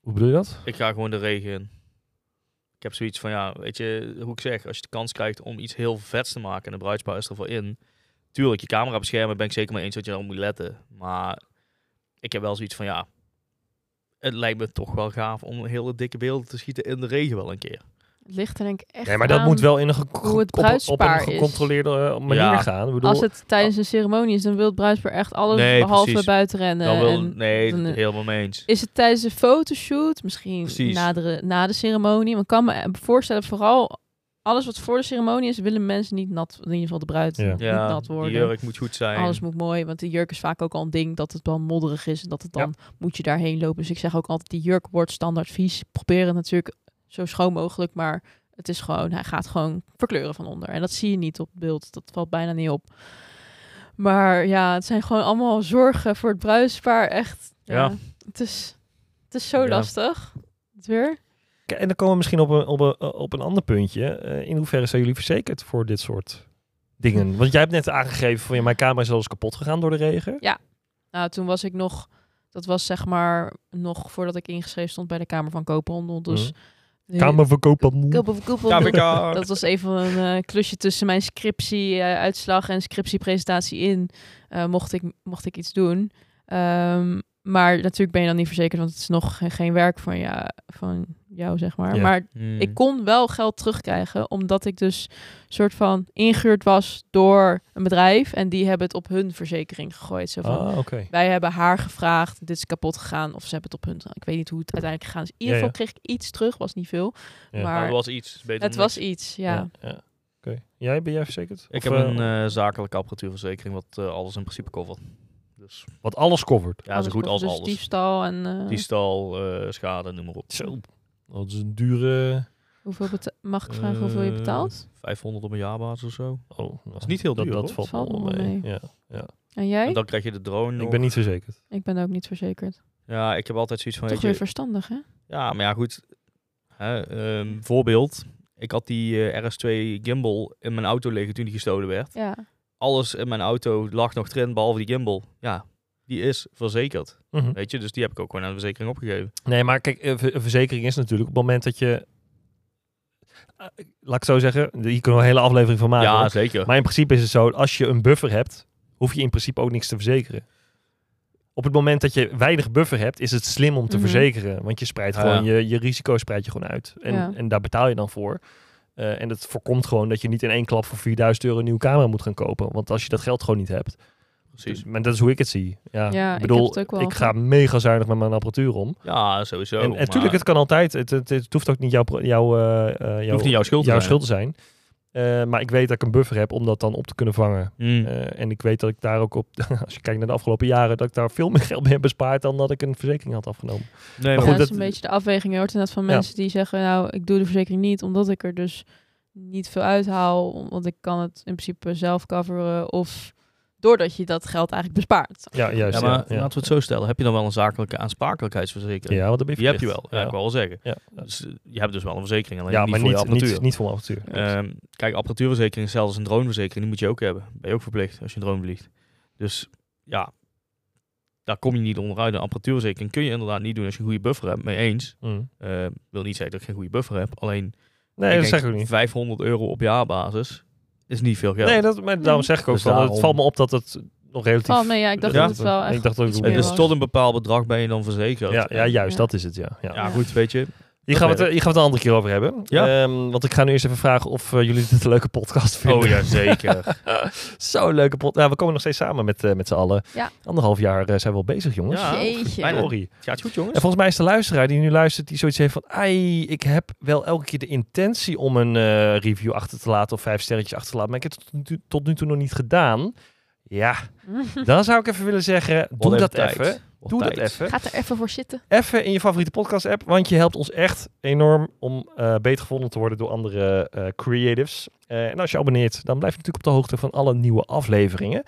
Speaker 2: hoe bedoel je dat?
Speaker 3: Ik ga gewoon de regen in. Ik heb zoiets van, ja, weet je, hoe ik zeg, als je de kans krijgt om iets heel vets te maken en de bruidspaar is er voor in. Tuurlijk, je camera beschermen ben ik zeker mee eens dat je daarop moet letten. Maar ik heb wel zoiets van, ja, het lijkt me toch wel gaaf om hele dikke beelden te schieten in de regen wel een keer.
Speaker 1: Het ligt er denk ik echt
Speaker 2: Nee, maar dat
Speaker 1: aan.
Speaker 2: moet wel in een ge-
Speaker 1: hoe het
Speaker 2: op- op,
Speaker 1: bruidspaar
Speaker 2: een
Speaker 1: is.
Speaker 2: gecontroleerde eh, manier
Speaker 3: Ja.
Speaker 2: gaan. Ik bedoel,
Speaker 1: Als het tijdens een ceremonie is, dan wil het bruidspaar echt alles
Speaker 3: Nee,
Speaker 1: behalve
Speaker 3: precies.
Speaker 1: buiten rennen.
Speaker 3: Dan wil,
Speaker 1: en
Speaker 3: nee,
Speaker 1: dan- eh,
Speaker 3: helemaal mee eens.
Speaker 1: Is het tijdens een fotoshoot, misschien
Speaker 3: Precies.
Speaker 1: na de, na de ceremonie? Want ik kan me eh, voorstellen, vooral alles wat voor de ceremonie is, willen mensen niet nat, in ieder geval de bruid,
Speaker 2: Ja.
Speaker 1: niet
Speaker 3: Ja,
Speaker 1: nat
Speaker 3: die
Speaker 1: worden.
Speaker 3: jurk moet goed zijn.
Speaker 1: Alles moet mooi, want de jurk is vaak ook al een ding dat het wel modderig is en dat het dan moet je daarheen lopen. Dus ik zeg ook altijd, die jurk wordt standaard vies. Probeer het natuurlijk zo schoon mogelijk, maar het is gewoon, hij gaat gewoon verkleuren van onder. En dat zie je niet op beeld, dat valt bijna niet op. Maar ja, het zijn gewoon allemaal zorgen voor het bruidspaar, echt. Ja.
Speaker 3: Ja.
Speaker 1: Het, is, het is zo
Speaker 3: Ja.
Speaker 1: lastig, het weer.
Speaker 2: K- En dan komen we misschien op een, op een, op een ander puntje. Eh, in hoeverre zijn jullie verzekerd voor dit soort dingen? Want jij hebt net aangegeven van ja, mijn camera is wel eens kapot gegaan door de regen.
Speaker 1: Nou, toen was ik nog, dat was zeg maar nog voordat ik ingeschreven stond bij de Kamer van Koophandel. Dus
Speaker 3: Mhm.
Speaker 2: Hm. Kamer verkopen.
Speaker 1: Koop of koepel.
Speaker 3: KVK.
Speaker 1: Dat was even een eh, klusje tussen mijn scriptie-uitslag en scriptiepresentatie in. eh, mocht, ik, mocht ik iets doen. Ehm, maar natuurlijk ben je dan niet verzekerd, want het is nog geen, geen werk van, ja, van jou, zeg maar.
Speaker 2: Ja. Mhm.
Speaker 1: Maar
Speaker 3: Hmm.
Speaker 1: ik kon wel geld terugkrijgen, omdat ik dus soort van ingehuurd was door een bedrijf. En die hebben het op hun verzekering gegooid. Zo van,
Speaker 2: Ah, oké.
Speaker 1: wij hebben haar gevraagd, dit is kapot gegaan. Of ze hebben het op hun. Ik weet niet hoe het uiteindelijk gegaan is. In ieder
Speaker 2: Ja,
Speaker 1: geval kreeg ik iets terug, was niet veel.
Speaker 2: Ja.
Speaker 1: Maar
Speaker 3: Maar het was iets. beter
Speaker 1: het
Speaker 3: dan
Speaker 1: was
Speaker 3: niks.
Speaker 1: iets, ja.
Speaker 2: ja. Oké. Jij, ben jij verzekerd?
Speaker 3: Ik
Speaker 2: Of,
Speaker 3: heb
Speaker 2: eh,
Speaker 3: een eh, zakelijke apparatuurverzekering wat eh, alles in principe covert. Dus
Speaker 2: Wat alles covert.
Speaker 3: ja, zo goed als
Speaker 1: dus
Speaker 3: alles.
Speaker 1: diefstal en eh,
Speaker 3: Diefstal, eh schade, noem maar op.
Speaker 2: Zo. Dat is een dure...
Speaker 1: hoeveel beta- Mag ik vragen hoeveel je
Speaker 3: Eh,
Speaker 1: betaalt?
Speaker 3: 500 op een jaarbasis of zo.
Speaker 2: Oh, dat
Speaker 3: is niet heel duur,
Speaker 2: Dat,
Speaker 3: hoor.
Speaker 2: valt
Speaker 1: Valt
Speaker 2: wel
Speaker 1: wel
Speaker 2: mee.
Speaker 1: mee.
Speaker 2: Ja.
Speaker 1: En
Speaker 3: En
Speaker 1: jij?
Speaker 3: dan krijg je de drone nog.
Speaker 2: Ik ben niet verzekerd.
Speaker 1: Ik ben ook niet verzekerd.
Speaker 3: Ja, ik heb altijd zoiets van,
Speaker 1: Toch
Speaker 3: weet
Speaker 1: weer
Speaker 3: je,
Speaker 1: verstandig, hè?
Speaker 3: Ja, maar ja, goed. Hè, ehm, voorbeeld. Ik had die eh, RS2 gimbal in mijn auto liggen toen die gestolen werd.
Speaker 1: Ja.
Speaker 3: Alles in mijn auto lag nog erin, behalve die gimbal. Ja, die is verzekerd.
Speaker 2: Mhm.
Speaker 3: Weet je, dus die heb ik ook gewoon aan de verzekering opgegeven.
Speaker 2: Nee, maar kijk, een ver- een verzekering is natuurlijk op het moment dat je... Eh, Laat ik het zo zeggen, hier kunnen we een hele aflevering van maken.
Speaker 3: ja,
Speaker 2: hoor.
Speaker 3: zeker.
Speaker 2: Ah, Maar in principe is het zo, als je een buffer hebt, hoef je in principe ook niks te verzekeren. Op het moment dat je weinig buffer hebt, is het slim om te
Speaker 1: Mhm.
Speaker 2: verzekeren. Want je spreidt
Speaker 3: Ah, Ja.
Speaker 2: gewoon, je, je risico spreid je gewoon uit. En,
Speaker 1: Ja.
Speaker 2: en daar betaal je dan voor. Eh, en dat voorkomt gewoon dat je niet in één klap voor 4000 euro een nieuwe camera moet gaan kopen. Want als je dat geld gewoon niet hebt. dus,
Speaker 3: Precies.
Speaker 2: Maar dat is hoe ik het zie. Ja,
Speaker 1: Ja,
Speaker 2: ik
Speaker 1: ik
Speaker 2: bedoel,
Speaker 1: heb
Speaker 2: ik,
Speaker 1: het ook wel
Speaker 2: ga mega zuinig met mijn apparatuur om.
Speaker 3: Ja, sowieso.
Speaker 2: en
Speaker 3: maar
Speaker 2: natuurlijk, het kan altijd. Het, het, het hoeft ook niet jouw, pro- jouw, eh, eh,
Speaker 3: het
Speaker 2: jouw,
Speaker 3: hoeft niet jouw schuld te
Speaker 2: jouw
Speaker 3: zijn.
Speaker 2: schuld te zijn. Eh, maar ik weet dat ik een buffer heb om dat dan op te kunnen vangen.
Speaker 3: Mm.
Speaker 2: Eh, en ik weet dat ik daar ook op, als je kijkt naar de afgelopen jaren, dat ik daar veel meer geld mee heb bespaard dan dat ik een verzekering had afgenomen.
Speaker 3: nee,
Speaker 2: maar
Speaker 1: ja, dat is
Speaker 2: goed, dat-
Speaker 1: een beetje de afweging. Je hoort inderdaad van
Speaker 2: Ja.
Speaker 1: mensen die zeggen, nou, ik doe de verzekering niet, omdat ik er dus niet veel uithaal, om- want ik kan het in principe zelf coveren, of doordat je dat geld eigenlijk bespaart.
Speaker 2: Ja, juist.
Speaker 3: ja,
Speaker 2: Ja,
Speaker 3: maar
Speaker 2: ja,
Speaker 3: laten we het zo stellen. Heb je dan wel een zakelijke aansprakelijkheidsverzekering?
Speaker 2: Ja, want dat ben je
Speaker 3: Die heb je
Speaker 2: verplicht.
Speaker 3: wel, ja. ik
Speaker 2: Ja,
Speaker 3: wou wel zeggen.
Speaker 2: ja.
Speaker 3: Dus, eh, je hebt dus wel een verzekering, alleen
Speaker 2: Ja,
Speaker 3: niet
Speaker 2: maar
Speaker 3: voor
Speaker 2: niet,
Speaker 3: je apparatuur.
Speaker 2: niet, niet voor mijn apparatuur.
Speaker 3: Ehm, kijk, apparatuurverzekering is zelfs een droneverzekering. Die moet je ook hebben. Ben je ook verplicht als je een drone vliegt. Dus ja, daar kom je niet onderuit. Een apparatuurverzekering kun je inderdaad niet doen als je een goede buffer hebt. Mee eens.
Speaker 2: Mm.
Speaker 3: Eh, wil niet zeggen dat ik geen goede buffer heb. Alleen
Speaker 2: Nee, dat
Speaker 3: ik denk
Speaker 2: zeg ik ook niet.
Speaker 3: 500 euro op jaarbasis is niet veel geld.
Speaker 2: Nee, dat, maar daarom zeg ik ook
Speaker 3: Dus
Speaker 2: van,
Speaker 3: daarom-
Speaker 2: het valt me op dat het nog relatief...
Speaker 1: Oh nee, ja, ik dacht
Speaker 3: Ja.
Speaker 1: dat het wel echt
Speaker 2: Ik dacht dat het
Speaker 1: iets
Speaker 2: meer
Speaker 3: het
Speaker 1: meer
Speaker 3: is
Speaker 1: was.
Speaker 3: tot een bepaald bedrag ben je dan verzekerd.
Speaker 2: ja, ja, juist,
Speaker 1: Ja.
Speaker 2: dat is het, ja. ja.
Speaker 3: Ja, goed, weet je.
Speaker 2: Hier, gaan we het, hier gaan we het een andere keer over hebben.
Speaker 3: Ja.
Speaker 2: Ehm, want ik ga nu eerst even vragen of eh, jullie dit een leuke podcast vinden.
Speaker 3: Oh ja, zeker.
Speaker 2: Zo'n leuke podcast. Ja, we komen nog steeds samen met, eh, met z'n allen.
Speaker 1: Ja.
Speaker 2: Anderhalf jaar eh, zijn we al bezig, jongens.
Speaker 3: Ja.
Speaker 1: Jeetje.
Speaker 3: Bijna.
Speaker 2: Sorry.
Speaker 3: Het gaat goed, jongens.
Speaker 2: En volgens mij is de luisteraar die nu luistert, die zoiets heeft van... Ai, ik heb wel elke keer de intentie om een eh, review achter te laten of vijf sterretjes achter te laten. Maar ik heb het tot nu toe, tot nu toe nog niet gedaan. Ja, dan zou ik even willen zeggen,
Speaker 3: Wat
Speaker 2: doe dat
Speaker 3: tijd.
Speaker 2: even.
Speaker 3: Wat
Speaker 2: Doe dat
Speaker 3: tijd.
Speaker 2: even.
Speaker 1: Gaat er even voor zitten.
Speaker 2: Even in je favoriete podcast app, want je helpt ons echt enorm om eh, beter gevonden te worden door andere eh, creatives. Eh, en als je abonneert, dan blijf je natuurlijk op de hoogte van alle nieuwe afleveringen.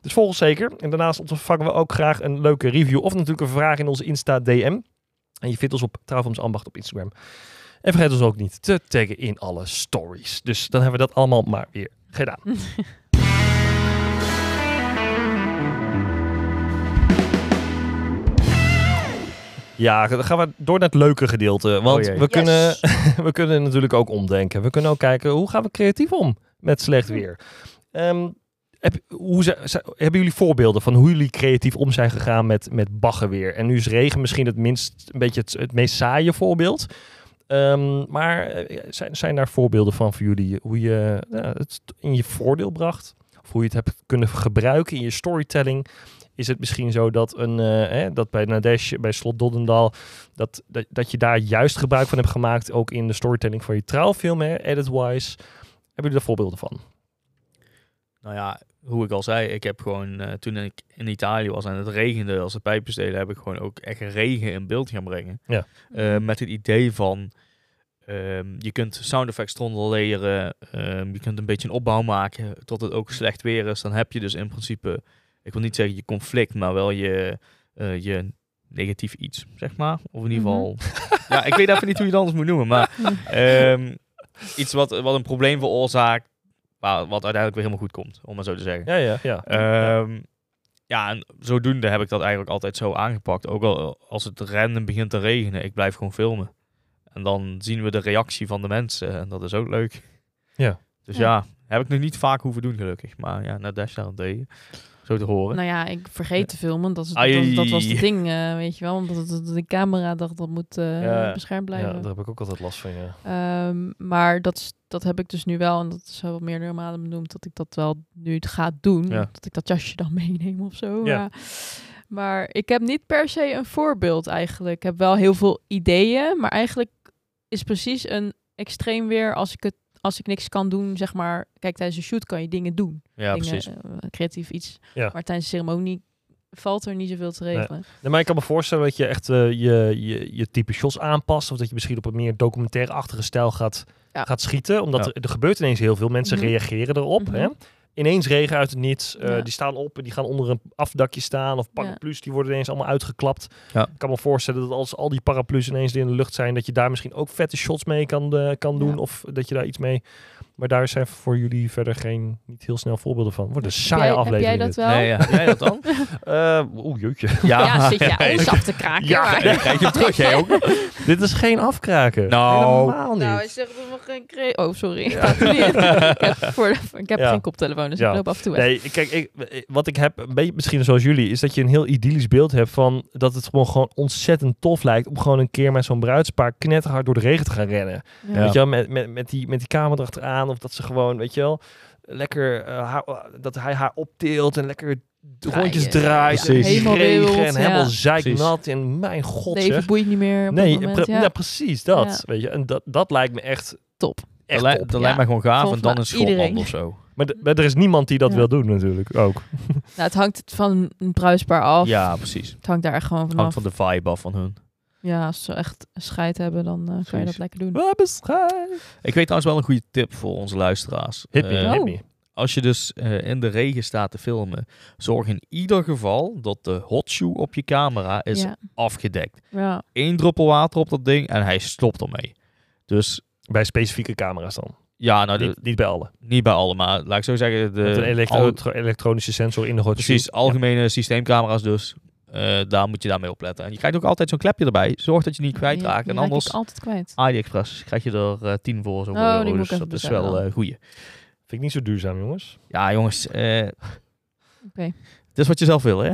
Speaker 2: Dus volg ons zeker. En daarnaast ontvangen we ook graag een leuke review of natuurlijk een vraag in onze Insta DM. En je vindt ons op Travums Ambacht op Instagram. En vergeet ons ook niet te taggen in alle stories. Dus dan hebben we dat allemaal maar weer gedaan. Ja, dan gaan we door naar het leuke gedeelte. Want
Speaker 3: Oh jee.
Speaker 2: we, kunnen, we kunnen natuurlijk ook omdenken. We kunnen ook kijken hoe gaan we creatief om met slecht weer. Ehm, heb, hoe ze- ze- hebben jullie voorbeelden van hoe jullie creatief om zijn gegaan met, met baggerweer? En nu is regen misschien het, minst, een beetje het, het meest saaie voorbeeld. Ehm, maar eh, zijn, zijn daar voorbeelden van voor jullie? Hoe je nou, het in je voordeel bracht? Of hoe je het hebt kunnen gebruiken in je storytelling? Is het misschien zo dat, een, eh, hè, dat bij Nadesh, bij Slot Doddendal, dat, dat, dat je daar juist gebruik van hebt gemaakt, ook in de storytelling van je trouwfilm, hè, edit-wise? Hebben jullie daar voorbeelden van?
Speaker 3: Nou ja, hoe ik al zei, ik heb gewoon eh, toen ik in Italië was en het regende als de pijpjes deden, heb ik gewoon ook echt regen in beeld gaan brengen.
Speaker 2: Ja.
Speaker 1: Mhm.
Speaker 3: Eh, met het idee van, ehm, je kunt sound effects eronder leren, ehm, je kunt een beetje een opbouw maken tot het ook slecht weer is. Dan heb je dus in principe, ik wil niet zeggen je conflict, maar wel je, eh, je negatief iets, zeg maar. Of in ieder geval, ja, ik weet even niet hoe je het anders moet noemen, maar
Speaker 1: Hm.
Speaker 3: Ehm, iets wat, wat een probleem veroorzaakt, maar wat uiteindelijk weer helemaal goed komt, om maar zo te zeggen.
Speaker 2: Ja, ja, ja.
Speaker 3: Ehm, ja, en zodoende heb ik dat eigenlijk altijd zo aangepakt. Ook al als het random begint te regenen, ik blijf gewoon filmen. En dan zien we de reactie van de mensen en dat is ook leuk.
Speaker 2: Ja.
Speaker 3: Dus
Speaker 1: Ja.
Speaker 3: ja, heb ik nog niet vaak hoeven doen gelukkig. Maar ja, naar Dash daarentegen, zo te horen.
Speaker 1: Nou ja, ik vergeet te filmen. Dat, is, dat,
Speaker 3: Ai.
Speaker 1: dat was het ding, eh, weet je wel. Omdat het- het- de camera dacht dat moet eh,
Speaker 2: Ja.
Speaker 1: beschermd
Speaker 2: ja,
Speaker 1: blijven.
Speaker 2: daar heb ik ook altijd last van, ja.
Speaker 1: Ehm, maar dat, is- dat heb ik dus nu wel. En dat is wel meer normaal benoemd dat ik dat wel nu het ga doen.
Speaker 3: Ja.
Speaker 1: Dat ik dat jasje dan meeneem of zo.
Speaker 2: Ja.
Speaker 1: Maar, maar ik heb niet per se een voorbeeld eigenlijk. Ik heb wel heel veel ideeën. Maar eigenlijk is precies een extreem weer als ik het als ik niks kan doen, zeg maar. Kijk, tijdens een shoot kan je dingen doen.
Speaker 3: Ja,
Speaker 1: dingen,
Speaker 3: precies.
Speaker 1: eh, creatief iets.
Speaker 2: Ja.
Speaker 1: Maar tijdens een ceremonie valt er niet zoveel te regelen.
Speaker 2: Nee, maar ik kan me voorstellen dat je echt eh, je, je, je type shots aanpast. Of dat je misschien op een meer documentaire-achtige stijl gaat,
Speaker 1: Ja.
Speaker 2: gaat schieten. Omdat
Speaker 3: Ja.
Speaker 2: er, er gebeurt ineens heel veel. Mensen
Speaker 1: Mhm.
Speaker 2: reageren erop.
Speaker 1: Mhm.
Speaker 2: Hè? Ineens regen uit het niets. eh,
Speaker 1: Ja.
Speaker 2: Die staan op en die gaan onder een afdakje staan. Of paraplu's, die worden ineens allemaal uitgeklapt.
Speaker 3: Ja.
Speaker 2: Ik kan me voorstellen dat als al die paraplu's ineens in de lucht zijn... dat je daar misschien ook vette shots mee kan, eh, kan doen.
Speaker 1: Ja.
Speaker 2: Of dat je daar iets mee... Maar daar zijn voor jullie verder geen, niet heel snel voorbeelden van. Wordt een saaie
Speaker 1: Jij- heb
Speaker 2: aflevering.
Speaker 1: jij dat
Speaker 2: dit.
Speaker 1: wel?
Speaker 3: Nee, ja. Jij dat dan?
Speaker 2: Eh, Oeh, jeetje.
Speaker 1: ja. zit je ons af te kraken.
Speaker 2: Ja,
Speaker 1: maar-
Speaker 3: Dan krijg je hem terug, jij ook nog.
Speaker 2: Dit is geen afkraken.
Speaker 3: Nou.
Speaker 2: Helemaal niet.
Speaker 1: Nou, hij zegt dat we geen cre- Oh, sorry. Ik praat er niet in. ik heb, voor, ik heb
Speaker 2: Ja.
Speaker 1: geen koptelefoon, dus
Speaker 2: Ja.
Speaker 1: ik loop af en toe weg.
Speaker 2: Nee, kijk, ik, wat ik heb, een beetje misschien zoals jullie, is dat je een heel idyllisch beeld hebt van dat het gewoon, gewoon ontzettend tof lijkt om gewoon een keer met zo'n bruidspaar knetterhard door de regen te gaan rennen.
Speaker 1: Ja.
Speaker 2: Weet je wel, met, met, met, die, met die kamer erachteraan of dat ze gewoon, weet je wel, lekker, eh, haar- dat hij haar opteelt en lekker
Speaker 1: Draaien.
Speaker 2: rondjes draait.
Speaker 3: Precies.
Speaker 2: En
Speaker 1: Helemaal
Speaker 2: regen
Speaker 1: wild,
Speaker 2: en helemaal
Speaker 1: ja.
Speaker 2: zeiknat. En mijn god zeg.
Speaker 1: Leven boeit niet meer op
Speaker 2: Nee,
Speaker 1: dat moment.
Speaker 2: pre-
Speaker 1: ja.
Speaker 2: ja, precies dat.
Speaker 1: Ja.
Speaker 2: Weet je, en dat, dat lijkt me echt
Speaker 1: Top.
Speaker 2: Echt
Speaker 3: lij-
Speaker 2: top.
Speaker 3: dat lijkt mij gewoon gaaf.
Speaker 1: Volgens
Speaker 3: En dan
Speaker 1: mij
Speaker 3: is Schotland
Speaker 1: iedereen.
Speaker 3: of zo.
Speaker 2: Maar, d- maar er is niemand die dat
Speaker 1: Mm. Ja.
Speaker 2: wil doen natuurlijk ook.
Speaker 1: Nou, het hangt van een bruisbaar af.
Speaker 3: Ja, precies.
Speaker 1: Het hangt daar echt gewoon vanaf.
Speaker 3: Hangt van de vibe af van hun.
Speaker 1: Ja, als ze echt scheid hebben, dan eh, kan je
Speaker 3: Precies.
Speaker 1: dat lekker doen.
Speaker 2: Wat beschrijf.
Speaker 3: Ik weet trouwens wel een goede tip voor onze luisteraars.
Speaker 2: Hit me,
Speaker 3: Eh,
Speaker 1: Oh.
Speaker 2: hit me.
Speaker 3: Als je dus eh, in de regen staat te filmen, zorg in ieder geval dat de hot shoe op je camera is
Speaker 1: Ja.
Speaker 3: afgedekt.
Speaker 1: Ja.
Speaker 3: Eén druppel water op dat ding en hij stopt ermee. Dus
Speaker 2: Bij specifieke camera's dan.
Speaker 3: ja, nou,
Speaker 2: niet,
Speaker 3: de-
Speaker 2: niet bij alle.
Speaker 3: niet bij alle, maar laat ik zo zeggen,
Speaker 2: Met een
Speaker 3: de
Speaker 2: elektro-
Speaker 3: al-
Speaker 2: tro- elektronische sensor in de hot
Speaker 3: precies
Speaker 2: shoe.
Speaker 3: algemene systeemcamera's dus. eh, daar moet je daarmee opletten. En je krijgt ook altijd zo'n klepje erbij. Zorg dat je niet kwijtraakt.
Speaker 1: Die
Speaker 3: En
Speaker 1: raak ik
Speaker 3: anders
Speaker 1: altijd kwijt.
Speaker 3: AliExpress krijg je er eh, 10 voor. Zo
Speaker 1: Oh, die moet ik
Speaker 3: dus
Speaker 1: even
Speaker 3: dat is
Speaker 1: bestellen
Speaker 3: wel
Speaker 1: dan.
Speaker 3: een goeie.
Speaker 2: Vind ik niet zo duurzaam, jongens.
Speaker 3: Ja, jongens. eh Het is wat je zelf wil, hè?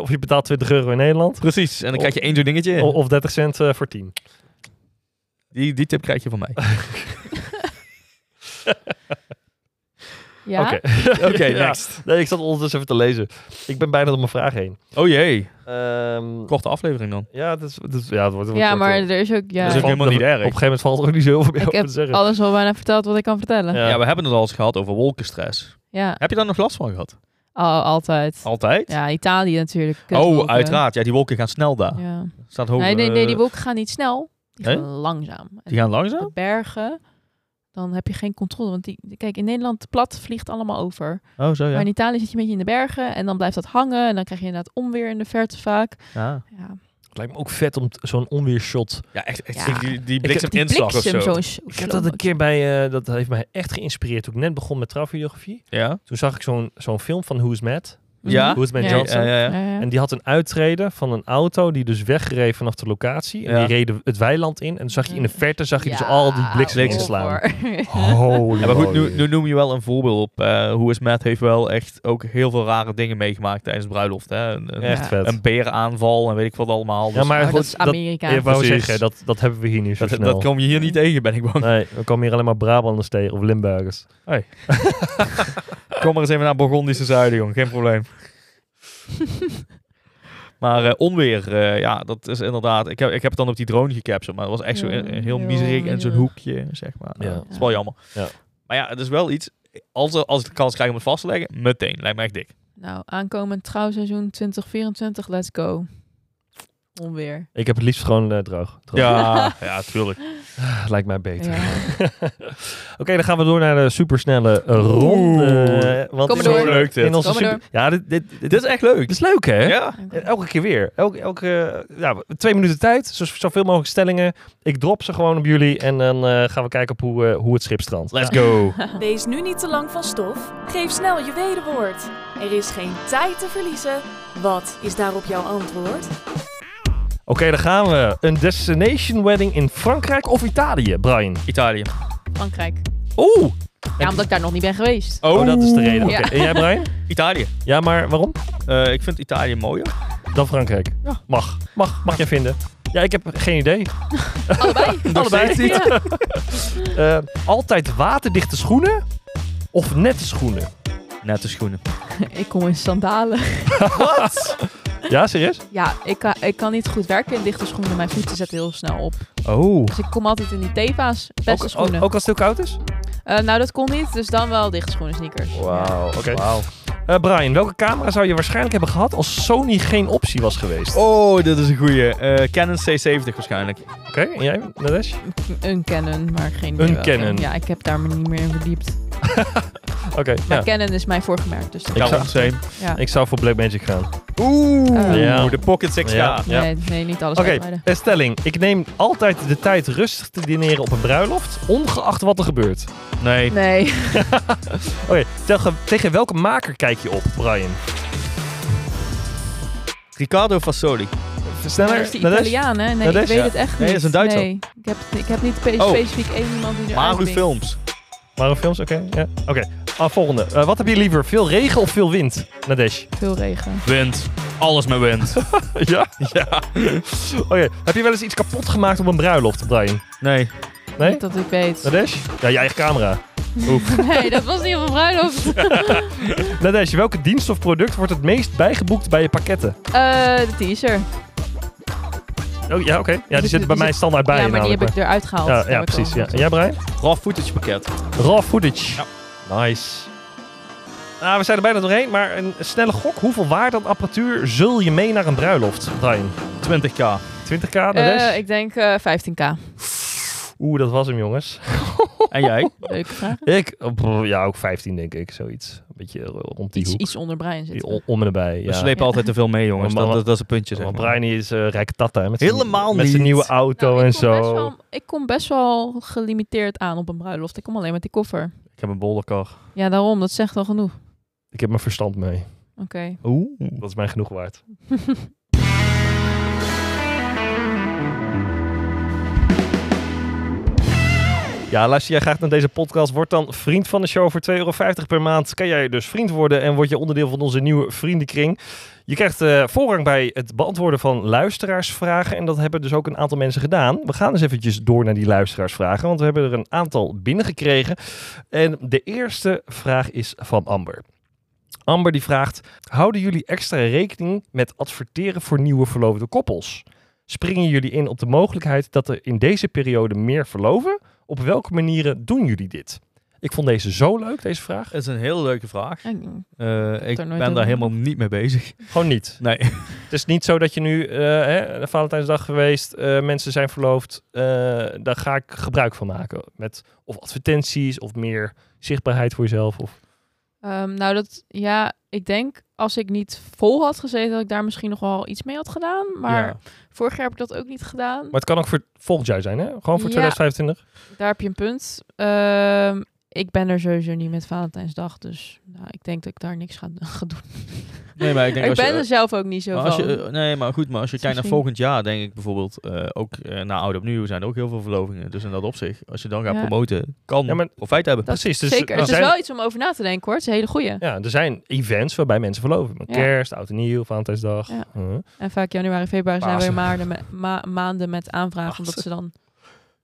Speaker 2: of je betaalt 20 euro in Nederland.
Speaker 3: Precies. En dan
Speaker 2: Of-
Speaker 3: krijg je één zo'n dingetje.
Speaker 2: o- Of 30 cent eh, voor 10.
Speaker 3: Die, die tip krijg je van mij.
Speaker 1: Ja?
Speaker 2: Oké,
Speaker 3: Oké,
Speaker 2: Ja.
Speaker 3: next.
Speaker 2: Nee, ik zat ondertussen even te lezen. Ik ben bijna door mijn vraag heen.
Speaker 3: Oh jee.
Speaker 2: Ehm,
Speaker 3: Korte aflevering dan.
Speaker 2: ja, het is, het is- ja, het wordt het
Speaker 1: ja,
Speaker 2: wordt,
Speaker 1: maar
Speaker 2: eh,
Speaker 1: er is ook... Ja,
Speaker 3: Dat
Speaker 2: het
Speaker 3: is ook
Speaker 2: valt-
Speaker 3: helemaal niet erg.
Speaker 2: Op een gegeven moment valt er ook niet zoveel meer
Speaker 1: ik
Speaker 2: over
Speaker 1: heb
Speaker 2: te zeggen.
Speaker 1: alles al bijna verteld wat ik kan vertellen. Ja.
Speaker 2: Ja.
Speaker 3: Ja. we hebben het al eens gehad over wolkenstress. Heb je daar nog last van gehad?
Speaker 1: Oh, altijd.
Speaker 3: Altijd?
Speaker 1: Ja, Italië natuurlijk.
Speaker 3: oh,
Speaker 1: Kutwolken.
Speaker 3: uiteraard. Ja, die wolken gaan snel daar.
Speaker 1: Ja.
Speaker 3: Staat hoog,
Speaker 1: nee, nee, nee,
Speaker 3: eh,
Speaker 1: die wolken gaan niet snel. Die
Speaker 3: Nee?
Speaker 1: gaan langzaam. En
Speaker 3: die gaan langzaam?
Speaker 1: op de bergen, dan heb je geen controle. Want die, kijk, in Nederland plat vliegt allemaal over.
Speaker 3: Oh, zo
Speaker 1: Maar
Speaker 3: ja.
Speaker 1: in Italië zit je een beetje in de bergen en dan blijft dat hangen. En dan krijg je inderdaad onweer in de verte vaak.
Speaker 3: Ja,
Speaker 1: Ja,
Speaker 2: Het lijkt me ook vet om t- zo'n onweershot
Speaker 3: ja echt. echt
Speaker 1: Ja.
Speaker 3: Die, die
Speaker 1: die
Speaker 3: blikseminslag of zo.
Speaker 1: bliksem zo'n
Speaker 2: Ik heb dat een keer bij, eh, dat heeft mij echt geïnspireerd. Toen ik net begon met trouwvideografie,
Speaker 3: Ja?
Speaker 2: toen zag ik zo'n zo'n film van Who's Mad.
Speaker 3: Ja?
Speaker 2: Who's Mad
Speaker 1: Ja.
Speaker 2: Johnson.
Speaker 3: Ja, ja, ja.
Speaker 2: En die had een uittreden van een auto die dus wegreed vanaf de locatie. En
Speaker 3: Ja.
Speaker 2: die reden het weiland in. En dan zag je in de verte zag je dus
Speaker 1: Ja, Oh,
Speaker 2: al die
Speaker 1: horror.
Speaker 2: bliksems slaan. Holy
Speaker 3: Ja, maar goed, nu,
Speaker 2: moly.
Speaker 3: nu noem je wel een voorbeeld op. eh Hoe is Matt heeft wel echt ook heel veel rare dingen meegemaakt tijdens de bruiloft. Hè? Een, een,
Speaker 1: Ja.
Speaker 2: Echt vet.
Speaker 3: een berenaanval en weet ik wat allemaal.
Speaker 2: Ja,
Speaker 3: Dus
Speaker 2: maar
Speaker 1: Maar
Speaker 2: goed,
Speaker 1: dat is
Speaker 2: dat,
Speaker 1: Amerika.
Speaker 2: ik wou
Speaker 3: Precies.
Speaker 2: zeggen, dat, dat hebben we hier niet zo
Speaker 3: dat,
Speaker 2: snel.
Speaker 3: dat kom je hier niet tegen, ben ik bang.
Speaker 2: Nee, we komen hier alleen maar Brabanders tegen of Limburgers.
Speaker 3: Kom maar eens even naar Burgondische Zuiden, jong. Geen probleem. maar eh, onweer, eh, ja, dat is inderdaad... Ik heb, ik heb het dan op die drone gecaptured, maar dat was echt zo
Speaker 1: Ja,
Speaker 3: eh, heel
Speaker 1: heel
Speaker 3: miserig in zo'n
Speaker 1: miserig.
Speaker 3: hoekje, zeg maar.
Speaker 2: Ja.
Speaker 3: Ja. Dat is wel jammer.
Speaker 2: Ja.
Speaker 3: Maar ja, het is wel iets... Als, er- als ik de kans krijg om het vast te leggen, meteen. Lijkt me echt dik.
Speaker 1: Nou, aankomend trouwseizoen 2024, let's go. Onweer.
Speaker 2: Ik heb het liefst gewoon eh, droog. droog.
Speaker 3: Ja, ja, tuurlijk.
Speaker 2: Lijkt mij beter.
Speaker 1: Ja.
Speaker 2: Oké, dan gaan we door naar de supersnelle eh, ronde. Want
Speaker 1: Kom maar
Speaker 2: in-
Speaker 1: door.
Speaker 3: Zo leuk dit.
Speaker 2: In onze
Speaker 1: Kom maar
Speaker 2: super... Ja, dit, dit, dit,
Speaker 3: Dit is echt leuk.
Speaker 2: dit is leuk hè?
Speaker 3: Ja.
Speaker 1: Oké.
Speaker 2: Elke keer weer. Elke, elke eh, ja, twee minuten tijd. Zo, zoveel mogelijk stellingen. Ik drop ze gewoon op jullie. En dan eh, gaan we kijken op hoe, eh, hoe het schip strandt.
Speaker 3: Let's go.
Speaker 4: Wees nu niet te lang van stof. Geef snel je wederwoord. Er is geen tijd te verliezen. Wat is daarop jouw antwoord?
Speaker 2: Oké, dan gaan we. Een destination wedding in Frankrijk of Italië, Brian?
Speaker 3: Italië.
Speaker 1: Frankrijk.
Speaker 2: Oeh!
Speaker 1: Ja, omdat ik daar nog niet ben geweest.
Speaker 2: Oh, dat is de reden.
Speaker 1: Ja.
Speaker 2: Oké, En jij, Brian?
Speaker 3: Italië.
Speaker 2: Ja, maar waarom?
Speaker 3: Eh, ik vind Italië mooier.
Speaker 2: Dan Frankrijk.
Speaker 1: Ja.
Speaker 2: Mag. Mag. Mag jij vinden? Ja, ik heb geen idee.
Speaker 1: Allebei.
Speaker 2: Allebei.
Speaker 3: steeds niet.
Speaker 1: Ja.
Speaker 2: Eh, altijd waterdichte schoenen of nette schoenen?
Speaker 3: Nette schoenen.
Speaker 1: Ik kom in sandalen.
Speaker 2: Wat? ja, serieus?
Speaker 1: Ja, ik kan, ik kan niet goed werken in dichte schoenen. Mijn voeten zetten heel snel op.
Speaker 2: Oh.
Speaker 1: Dus ik kom altijd in die Teva's. Beste
Speaker 2: Ook, ook,
Speaker 1: schoenen.
Speaker 2: ook als het heel koud is?
Speaker 1: Eh, nou, dat kon niet. Dus dan wel dichte schoenen sneakers. Ja.
Speaker 2: Oké.
Speaker 3: Wauw.
Speaker 2: Eh, Brian, welke camera zou je waarschijnlijk hebben gehad als Sony geen optie was geweest?
Speaker 3: Oh, dit is een goeie. Eh, Canon C70 waarschijnlijk.
Speaker 1: Oh.
Speaker 2: Oké, en jij, Nadesh?
Speaker 1: Een Canon, maar geen...
Speaker 2: Een Canon.
Speaker 1: Ja, ik heb daar me niet meer in verdiept.
Speaker 2: Oké,
Speaker 1: Maar
Speaker 2: ja.
Speaker 1: Canon is mijn voorgemerkt, dus... dat-
Speaker 2: Ik
Speaker 3: Daarom
Speaker 2: zou-
Speaker 3: same.
Speaker 1: Ja.
Speaker 2: Ik zou voor Blackmagic gaan.
Speaker 3: Oeh,
Speaker 1: Eh.
Speaker 2: Ja.
Speaker 3: de Pocket 6K.
Speaker 2: Ja.
Speaker 1: Nee, nee, niet alles
Speaker 2: Oké,
Speaker 1: uitbreiden.
Speaker 2: eh, stelling. Ik neem altijd de tijd rustig te dineren op een bruiloft, ongeacht wat er gebeurt.
Speaker 3: Nee.
Speaker 1: Nee.
Speaker 2: Oké, tegen, tegen welke maker kijk je op, Brian?
Speaker 3: Riccardo Fasoli.
Speaker 1: Dat is
Speaker 2: Sneller,
Speaker 1: de
Speaker 2: Nadesh?
Speaker 1: Italiaan, hè? Nee,
Speaker 2: Dat
Speaker 1: ik
Speaker 2: is-
Speaker 1: weet
Speaker 3: ja.
Speaker 1: het echt niet.
Speaker 3: Nee, dat is een Duitser.
Speaker 1: Nee, ik heb, ik heb niet spe-
Speaker 3: Oh.
Speaker 1: specifiek één iemand die eruit
Speaker 3: Maru
Speaker 1: winkt.
Speaker 3: Films.
Speaker 2: Mario Films, oké. Ja. Oké, Ah, volgende. Eh, wat heb je liever, veel regen of veel wind, Nadesh?
Speaker 1: Veel regen.
Speaker 3: Wind. Alles met wind.
Speaker 2: ja? Ja. oké, heb je wel eens iets kapot gemaakt op een bruiloft, Brian?
Speaker 3: nee.
Speaker 2: Nee?
Speaker 1: Niet dat ik weet.
Speaker 2: Nadesh? Ja, je eigen camera. Oef.
Speaker 1: Nee, dat was niet op een bruiloft.
Speaker 2: Nadesh, welke dienst of product wordt het meest bijgeboekt bij je pakketten?
Speaker 1: Eh, de teaser.
Speaker 2: Oh, ja, oké. Ja, die
Speaker 1: Die-
Speaker 2: zitten bij
Speaker 1: die
Speaker 2: mij
Speaker 1: zit-
Speaker 2: standaard bij.
Speaker 1: ja, maar die heb
Speaker 2: namelijk,
Speaker 1: ik eruit gehaald.
Speaker 2: maar-
Speaker 1: Daar
Speaker 2: Ja,
Speaker 1: heb
Speaker 2: ja
Speaker 1: ik
Speaker 2: precies.
Speaker 1: al
Speaker 2: Ja.
Speaker 1: gezegd.
Speaker 2: Jij, Brian?
Speaker 3: Raw footage pakket.
Speaker 2: Raw footage.
Speaker 3: Ja.
Speaker 2: Nice. Nou, we zijn er bijna doorheen, maar een snelle gok. Hoeveel waarde aan apparatuur zul je mee naar een bruiloft, Brian?
Speaker 3: 20k.
Speaker 2: 20k, de rest?
Speaker 1: Eh, ik denk eh, 15k.
Speaker 2: Oeh, dat was hem, jongens.
Speaker 3: En jij?
Speaker 1: Leuke vraag.
Speaker 2: Ik, oh, brr, ja, ook 15 denk ik, zoiets. Een beetje eh, rond die
Speaker 1: Iets,
Speaker 2: hoek.
Speaker 1: iets onder Brian Nou,
Speaker 2: Die
Speaker 1: zitten.
Speaker 2: on- om en nabij,
Speaker 3: We
Speaker 2: ja.
Speaker 3: slepen
Speaker 1: Ja.
Speaker 3: altijd te veel mee, jongens.
Speaker 2: Maar-
Speaker 3: Oh, Dat,
Speaker 2: maar-
Speaker 3: dat is een puntje, zeg
Speaker 2: Want
Speaker 3: maar.
Speaker 2: Brian die is eh rijke tata, hè, met zijn-
Speaker 3: Helemaal
Speaker 2: Met zijn
Speaker 3: niet.
Speaker 2: nieuwe auto
Speaker 1: Nou, ik
Speaker 2: en
Speaker 1: kom best
Speaker 2: zo.
Speaker 1: wel- ik kom best wel gelimiteerd aan op een bruiloft. Ik kom alleen met die koffer.
Speaker 3: Ik heb een bolderkar.
Speaker 1: Ja, daarom. Dat zegt al genoeg. Oké.
Speaker 2: Ik heb mijn verstand mee.
Speaker 3: Oeh.
Speaker 2: Dat is mij genoeg waard. Ja, luister jij graag naar deze podcast? Word dan vriend van de show voor 2,50 euro per maand. Kan jij dus vriend worden en word je onderdeel van onze nieuwe vriendenkring. Je krijgt eh, voorrang bij het beantwoorden van luisteraarsvragen. En dat hebben dus ook een aantal mensen gedaan. We gaan eens eventjes door naar die luisteraarsvragen. Want we hebben er een aantal binnengekregen. En de eerste vraag is van Amber. Amber die vraagt, houden jullie extra rekening met adverteren voor nieuwe verloofde koppels? Springen jullie in op de mogelijkheid dat er in deze periode meer verloven? Op welke manieren doen jullie dit? Ik vond deze zo leuk, deze vraag.
Speaker 3: Dat is een hele leuke vraag.
Speaker 1: Ik-
Speaker 3: Eh, ik
Speaker 1: er
Speaker 3: ben
Speaker 1: nooit
Speaker 3: daar
Speaker 1: over
Speaker 3: helemaal niet mee bezig.
Speaker 2: Gewoon niet.
Speaker 3: Nee.
Speaker 2: Het is niet zo dat je nu, eh hè, Valentijnsdag geweest, eh, mensen zijn verloofd. eh, daar ga ik gebruik van maken. Met of advertenties of meer zichtbaarheid voor jezelf. Of...
Speaker 1: Ehm, nou, dat ja, ik denk als ik niet vol had gezeten, dat ik daar misschien nog wel iets mee had gedaan. Maar
Speaker 2: Ja.
Speaker 1: vorig jaar heb ik dat ook niet gedaan.
Speaker 2: Maar het kan ook voor volgend jaar zijn, hè? Gewoon voor
Speaker 1: Ja.
Speaker 2: 2025.
Speaker 1: Daar heb je een punt. Ehm, ik ben er sowieso niet met Valentijnsdag, dus nou, ik denk dat ik daar niks ga, ga doen.
Speaker 3: Nee, maar ik denk
Speaker 1: ik
Speaker 3: als je-
Speaker 1: ben er zelf ook niet zo
Speaker 3: Maar
Speaker 1: van.
Speaker 3: als je, eh, nee, maar goed, maar als je
Speaker 1: Is
Speaker 3: kijkt naar
Speaker 1: misschien-
Speaker 3: volgend jaar, denk ik bijvoorbeeld, eh, ook eh, na Oud Opnieuw zijn er ook heel veel verlovingen. Dus in dat opzicht, als je dan gaat
Speaker 1: Ja.
Speaker 3: promoten, kan
Speaker 2: Ja, maar-
Speaker 3: profijt hebben.
Speaker 1: Dat
Speaker 2: Precies. Dus
Speaker 1: Zeker,
Speaker 2: er
Speaker 1: het is
Speaker 2: zijn-
Speaker 1: wel iets om over na te denken hoor. Het is een hele goeie.
Speaker 2: Ja, er zijn events waarbij mensen verloven. Met
Speaker 1: Ja.
Speaker 2: Kerst, oud en nieuw, Valentijnsdag.
Speaker 1: Ja.
Speaker 2: Huh?
Speaker 1: En vaak januari, februari zijn
Speaker 2: Pasen.
Speaker 1: weer maanden met, ma- maanden met aanvragen, omdat ze dan...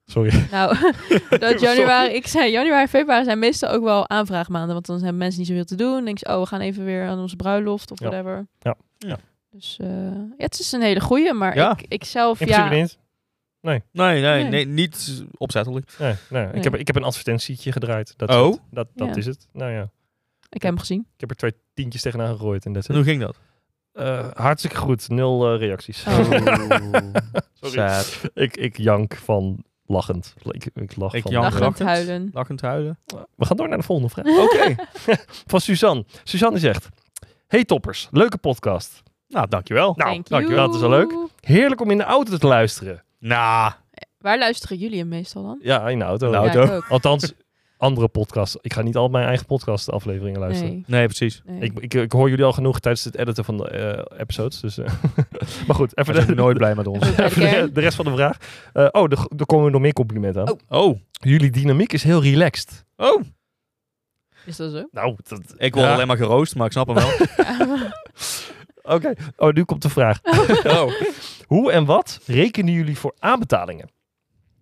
Speaker 2: Sorry.
Speaker 1: Nou, dat
Speaker 2: Sorry.
Speaker 1: januari, ik zei januari, februari zijn meestal ook wel aanvraagmaanden. Want dan hebben mensen niet zoveel te doen. Dan denk ze, oh, we gaan even weer aan onze bruiloft of
Speaker 2: Ja.
Speaker 1: whatever.
Speaker 2: Ja.
Speaker 3: Ja.
Speaker 1: Dus eh, ja, het is een hele goeie, maar
Speaker 3: Ja.
Speaker 1: ik, ik zelf,
Speaker 2: In
Speaker 1: ja,
Speaker 2: principe niet.
Speaker 3: Nee, nee,
Speaker 1: Nee.
Speaker 3: nee, niet opzettelijk.
Speaker 2: Nee, nee. Ik,
Speaker 1: Nee.
Speaker 2: heb, ik heb een advertentietje gedraaid. Dat
Speaker 3: Oh?
Speaker 2: Is het. Dat, dat
Speaker 1: Ja.
Speaker 2: is het. Nou ja.
Speaker 1: ik heb hem gezien.
Speaker 2: Ik heb er twee tientjes tegenaan gegooid. En dat
Speaker 3: En hoe ging dat?
Speaker 2: Eh, hartstikke goed. Nul eh, reacties.
Speaker 1: Oh.
Speaker 2: Sorry.
Speaker 3: Sad.
Speaker 2: Ik, ik jank van lachend. Ik, ik lach
Speaker 3: Ik
Speaker 2: van...
Speaker 3: jank.
Speaker 1: Lachend
Speaker 3: lachend.
Speaker 1: huilen.
Speaker 3: Lachend huilen.
Speaker 2: We gaan door naar de volgende vraag.
Speaker 3: Oké.
Speaker 2: Van Suzanne. Suzanne zegt... Hey toppers, leuke podcast.
Speaker 3: nou, dankjewel.
Speaker 2: Nou,
Speaker 1: Thank
Speaker 2: dank je.
Speaker 1: you.
Speaker 2: Dat is wel leuk. Heerlijk om in de auto te luisteren.
Speaker 3: Nou,
Speaker 1: Waar luisteren jullie hem meestal dan?
Speaker 2: Ja, in de auto.
Speaker 3: In de
Speaker 1: Ja,
Speaker 3: auto.
Speaker 1: ik ook.
Speaker 2: Althans, andere podcasts. Ik ga niet al mijn eigen podcast afleveringen luisteren.
Speaker 1: Nee,
Speaker 3: nee, precies.
Speaker 1: nee.
Speaker 2: Ik, ik, ik hoor jullie al genoeg tijdens het editen van de eh, episodes. Dus, eh, maar goed, even
Speaker 3: We zijn
Speaker 2: de,
Speaker 3: nooit blij met ons.
Speaker 1: Even bij de
Speaker 2: even de,
Speaker 1: kern.
Speaker 2: de rest van de vraag. Eh, oh, de- daar komen we nog meer complimenten aan.
Speaker 1: Oh.
Speaker 3: Oh,
Speaker 2: Jullie dynamiek is heel relaxed.
Speaker 3: oh.
Speaker 1: Is dat zo?
Speaker 2: Nou, dat,
Speaker 3: Ik word
Speaker 2: Ja.
Speaker 3: alleen maar geroost, maar ik snap hem wel.
Speaker 2: oké. Oh, nu komt de vraag.
Speaker 3: oh.
Speaker 2: Hoe en wat rekenen jullie voor aanbetalingen?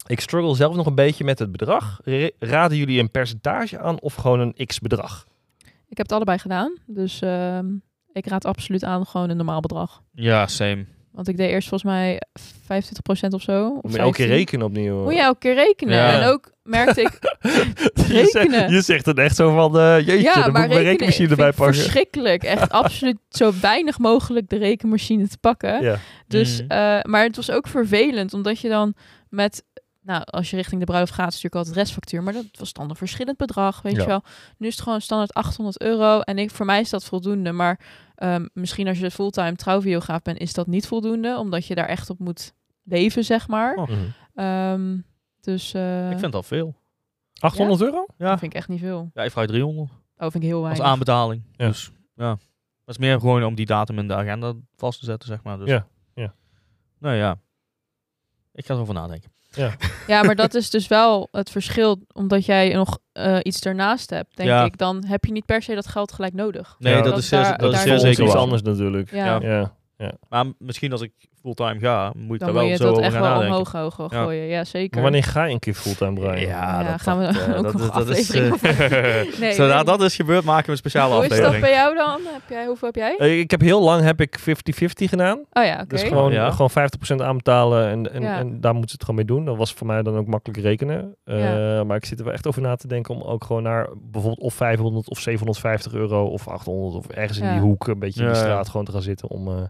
Speaker 2: Ik struggle zelf nog een beetje met het bedrag. Re- raden jullie een percentage aan of gewoon een x-bedrag?
Speaker 1: ik heb het allebei gedaan, dus ehm, ik raad absoluut aan gewoon een normaal bedrag.
Speaker 3: Ja, same.
Speaker 1: Want ik deed eerst volgens mij 25% of zo. Of
Speaker 2: Moet je elke
Speaker 1: 15.
Speaker 2: keer rekenen opnieuw.
Speaker 1: Moet je elke keer rekenen.
Speaker 2: Ja.
Speaker 1: En ook merkte ik,
Speaker 2: je, zegt,
Speaker 1: rekenen.
Speaker 2: je zegt het echt zo van, eh, jeetje,
Speaker 1: ja,
Speaker 2: dan moet
Speaker 1: maar
Speaker 2: ik mijn
Speaker 1: rekenen
Speaker 2: rekenmachine
Speaker 1: vind
Speaker 2: erbij
Speaker 1: ik
Speaker 2: pakken.
Speaker 1: verschrikkelijk. Echt absoluut zo weinig mogelijk de rekenmachine te pakken.
Speaker 2: Ja.
Speaker 1: Dus,
Speaker 3: Mhm.
Speaker 1: eh, maar het was ook vervelend, omdat je dan met, nou, als je richting de bruiloft gaat, is natuurlijk altijd restfactuur, maar dat was dan een verschillend bedrag, weet
Speaker 2: Ja.
Speaker 1: je wel. Nu is het gewoon standaard 800 euro en ik, voor mij is dat voldoende, maar ehm, misschien als je fulltime trouwvideograaf bent, is dat niet voldoende, omdat je daar echt op moet leven, zeg maar.
Speaker 3: Oh.
Speaker 2: Mhm.
Speaker 1: Ehm, dus eh,
Speaker 3: Ik vind dat veel.
Speaker 2: 800 euro?
Speaker 1: dat vind ik echt niet veel.
Speaker 3: Ja, ik vraag 300
Speaker 1: Oh, vind ik heel
Speaker 3: als
Speaker 1: weinig.
Speaker 3: aanbetaling.
Speaker 2: Ja.
Speaker 3: Dus ja. Dat is meer gewoon om die datum in de agenda vast te zetten, zeg maar. Dus,
Speaker 2: Ja, ja.
Speaker 3: Nou ja. Ik ga erover nadenken.
Speaker 1: Ja, maar dat is dus wel het verschil, omdat jij nog eh, iets daarnaast hebt, denk
Speaker 3: Ja.
Speaker 1: ik. Dan heb je niet per se dat geld gelijk nodig.
Speaker 3: Nee,
Speaker 2: Ja,
Speaker 3: dat,
Speaker 1: dat
Speaker 3: is zeer,
Speaker 1: daar-
Speaker 3: dat is
Speaker 1: daar-
Speaker 3: zeer
Speaker 2: voor ons
Speaker 3: zeker
Speaker 2: iets
Speaker 3: waar.
Speaker 2: anders natuurlijk.
Speaker 1: Ja,
Speaker 3: Ja.
Speaker 2: Ja.
Speaker 3: Maar misschien als ik fulltime ga,
Speaker 1: dan
Speaker 3: moet je daar
Speaker 1: moet
Speaker 3: wel
Speaker 1: je
Speaker 3: zo
Speaker 1: dat
Speaker 3: over
Speaker 1: echt
Speaker 3: gaan
Speaker 1: wel
Speaker 3: nadenken.
Speaker 1: omhoog hoog hoog
Speaker 3: Ja.
Speaker 1: gooien. Ja, zeker.
Speaker 2: Maar wanneer ga je een keer fulltime draaien?
Speaker 1: Ja, dat- gaan we dat, eh, ook dat nog is- dat is, aflevering Nee,
Speaker 3: Zodra
Speaker 1: nee.
Speaker 3: dat is gebeurd, maken we een speciale
Speaker 1: Hoe is dat
Speaker 3: aflevering.
Speaker 1: bij jou dan? Heb jij, hoeveel heb jij?
Speaker 2: Eh, Ik heb heel lang heb ik 50-50 gedaan.
Speaker 1: Oh ja, oké.
Speaker 2: Dus gewoon,
Speaker 3: Ja.
Speaker 2: gewoon 50% aanbetalen en, en,
Speaker 1: Ja.
Speaker 2: en daar moeten ze het gewoon mee doen. Dat was voor mij dan ook makkelijk rekenen. Eh,
Speaker 1: Ja.
Speaker 2: Maar ik zit er wel echt over na te denken om ook gewoon naar bijvoorbeeld of 500 of 750 euro of 800 of ergens in
Speaker 1: Ja.
Speaker 2: die hoek een beetje in die
Speaker 3: Ja, ja.
Speaker 2: straat gewoon te gaan zitten. Om, eh,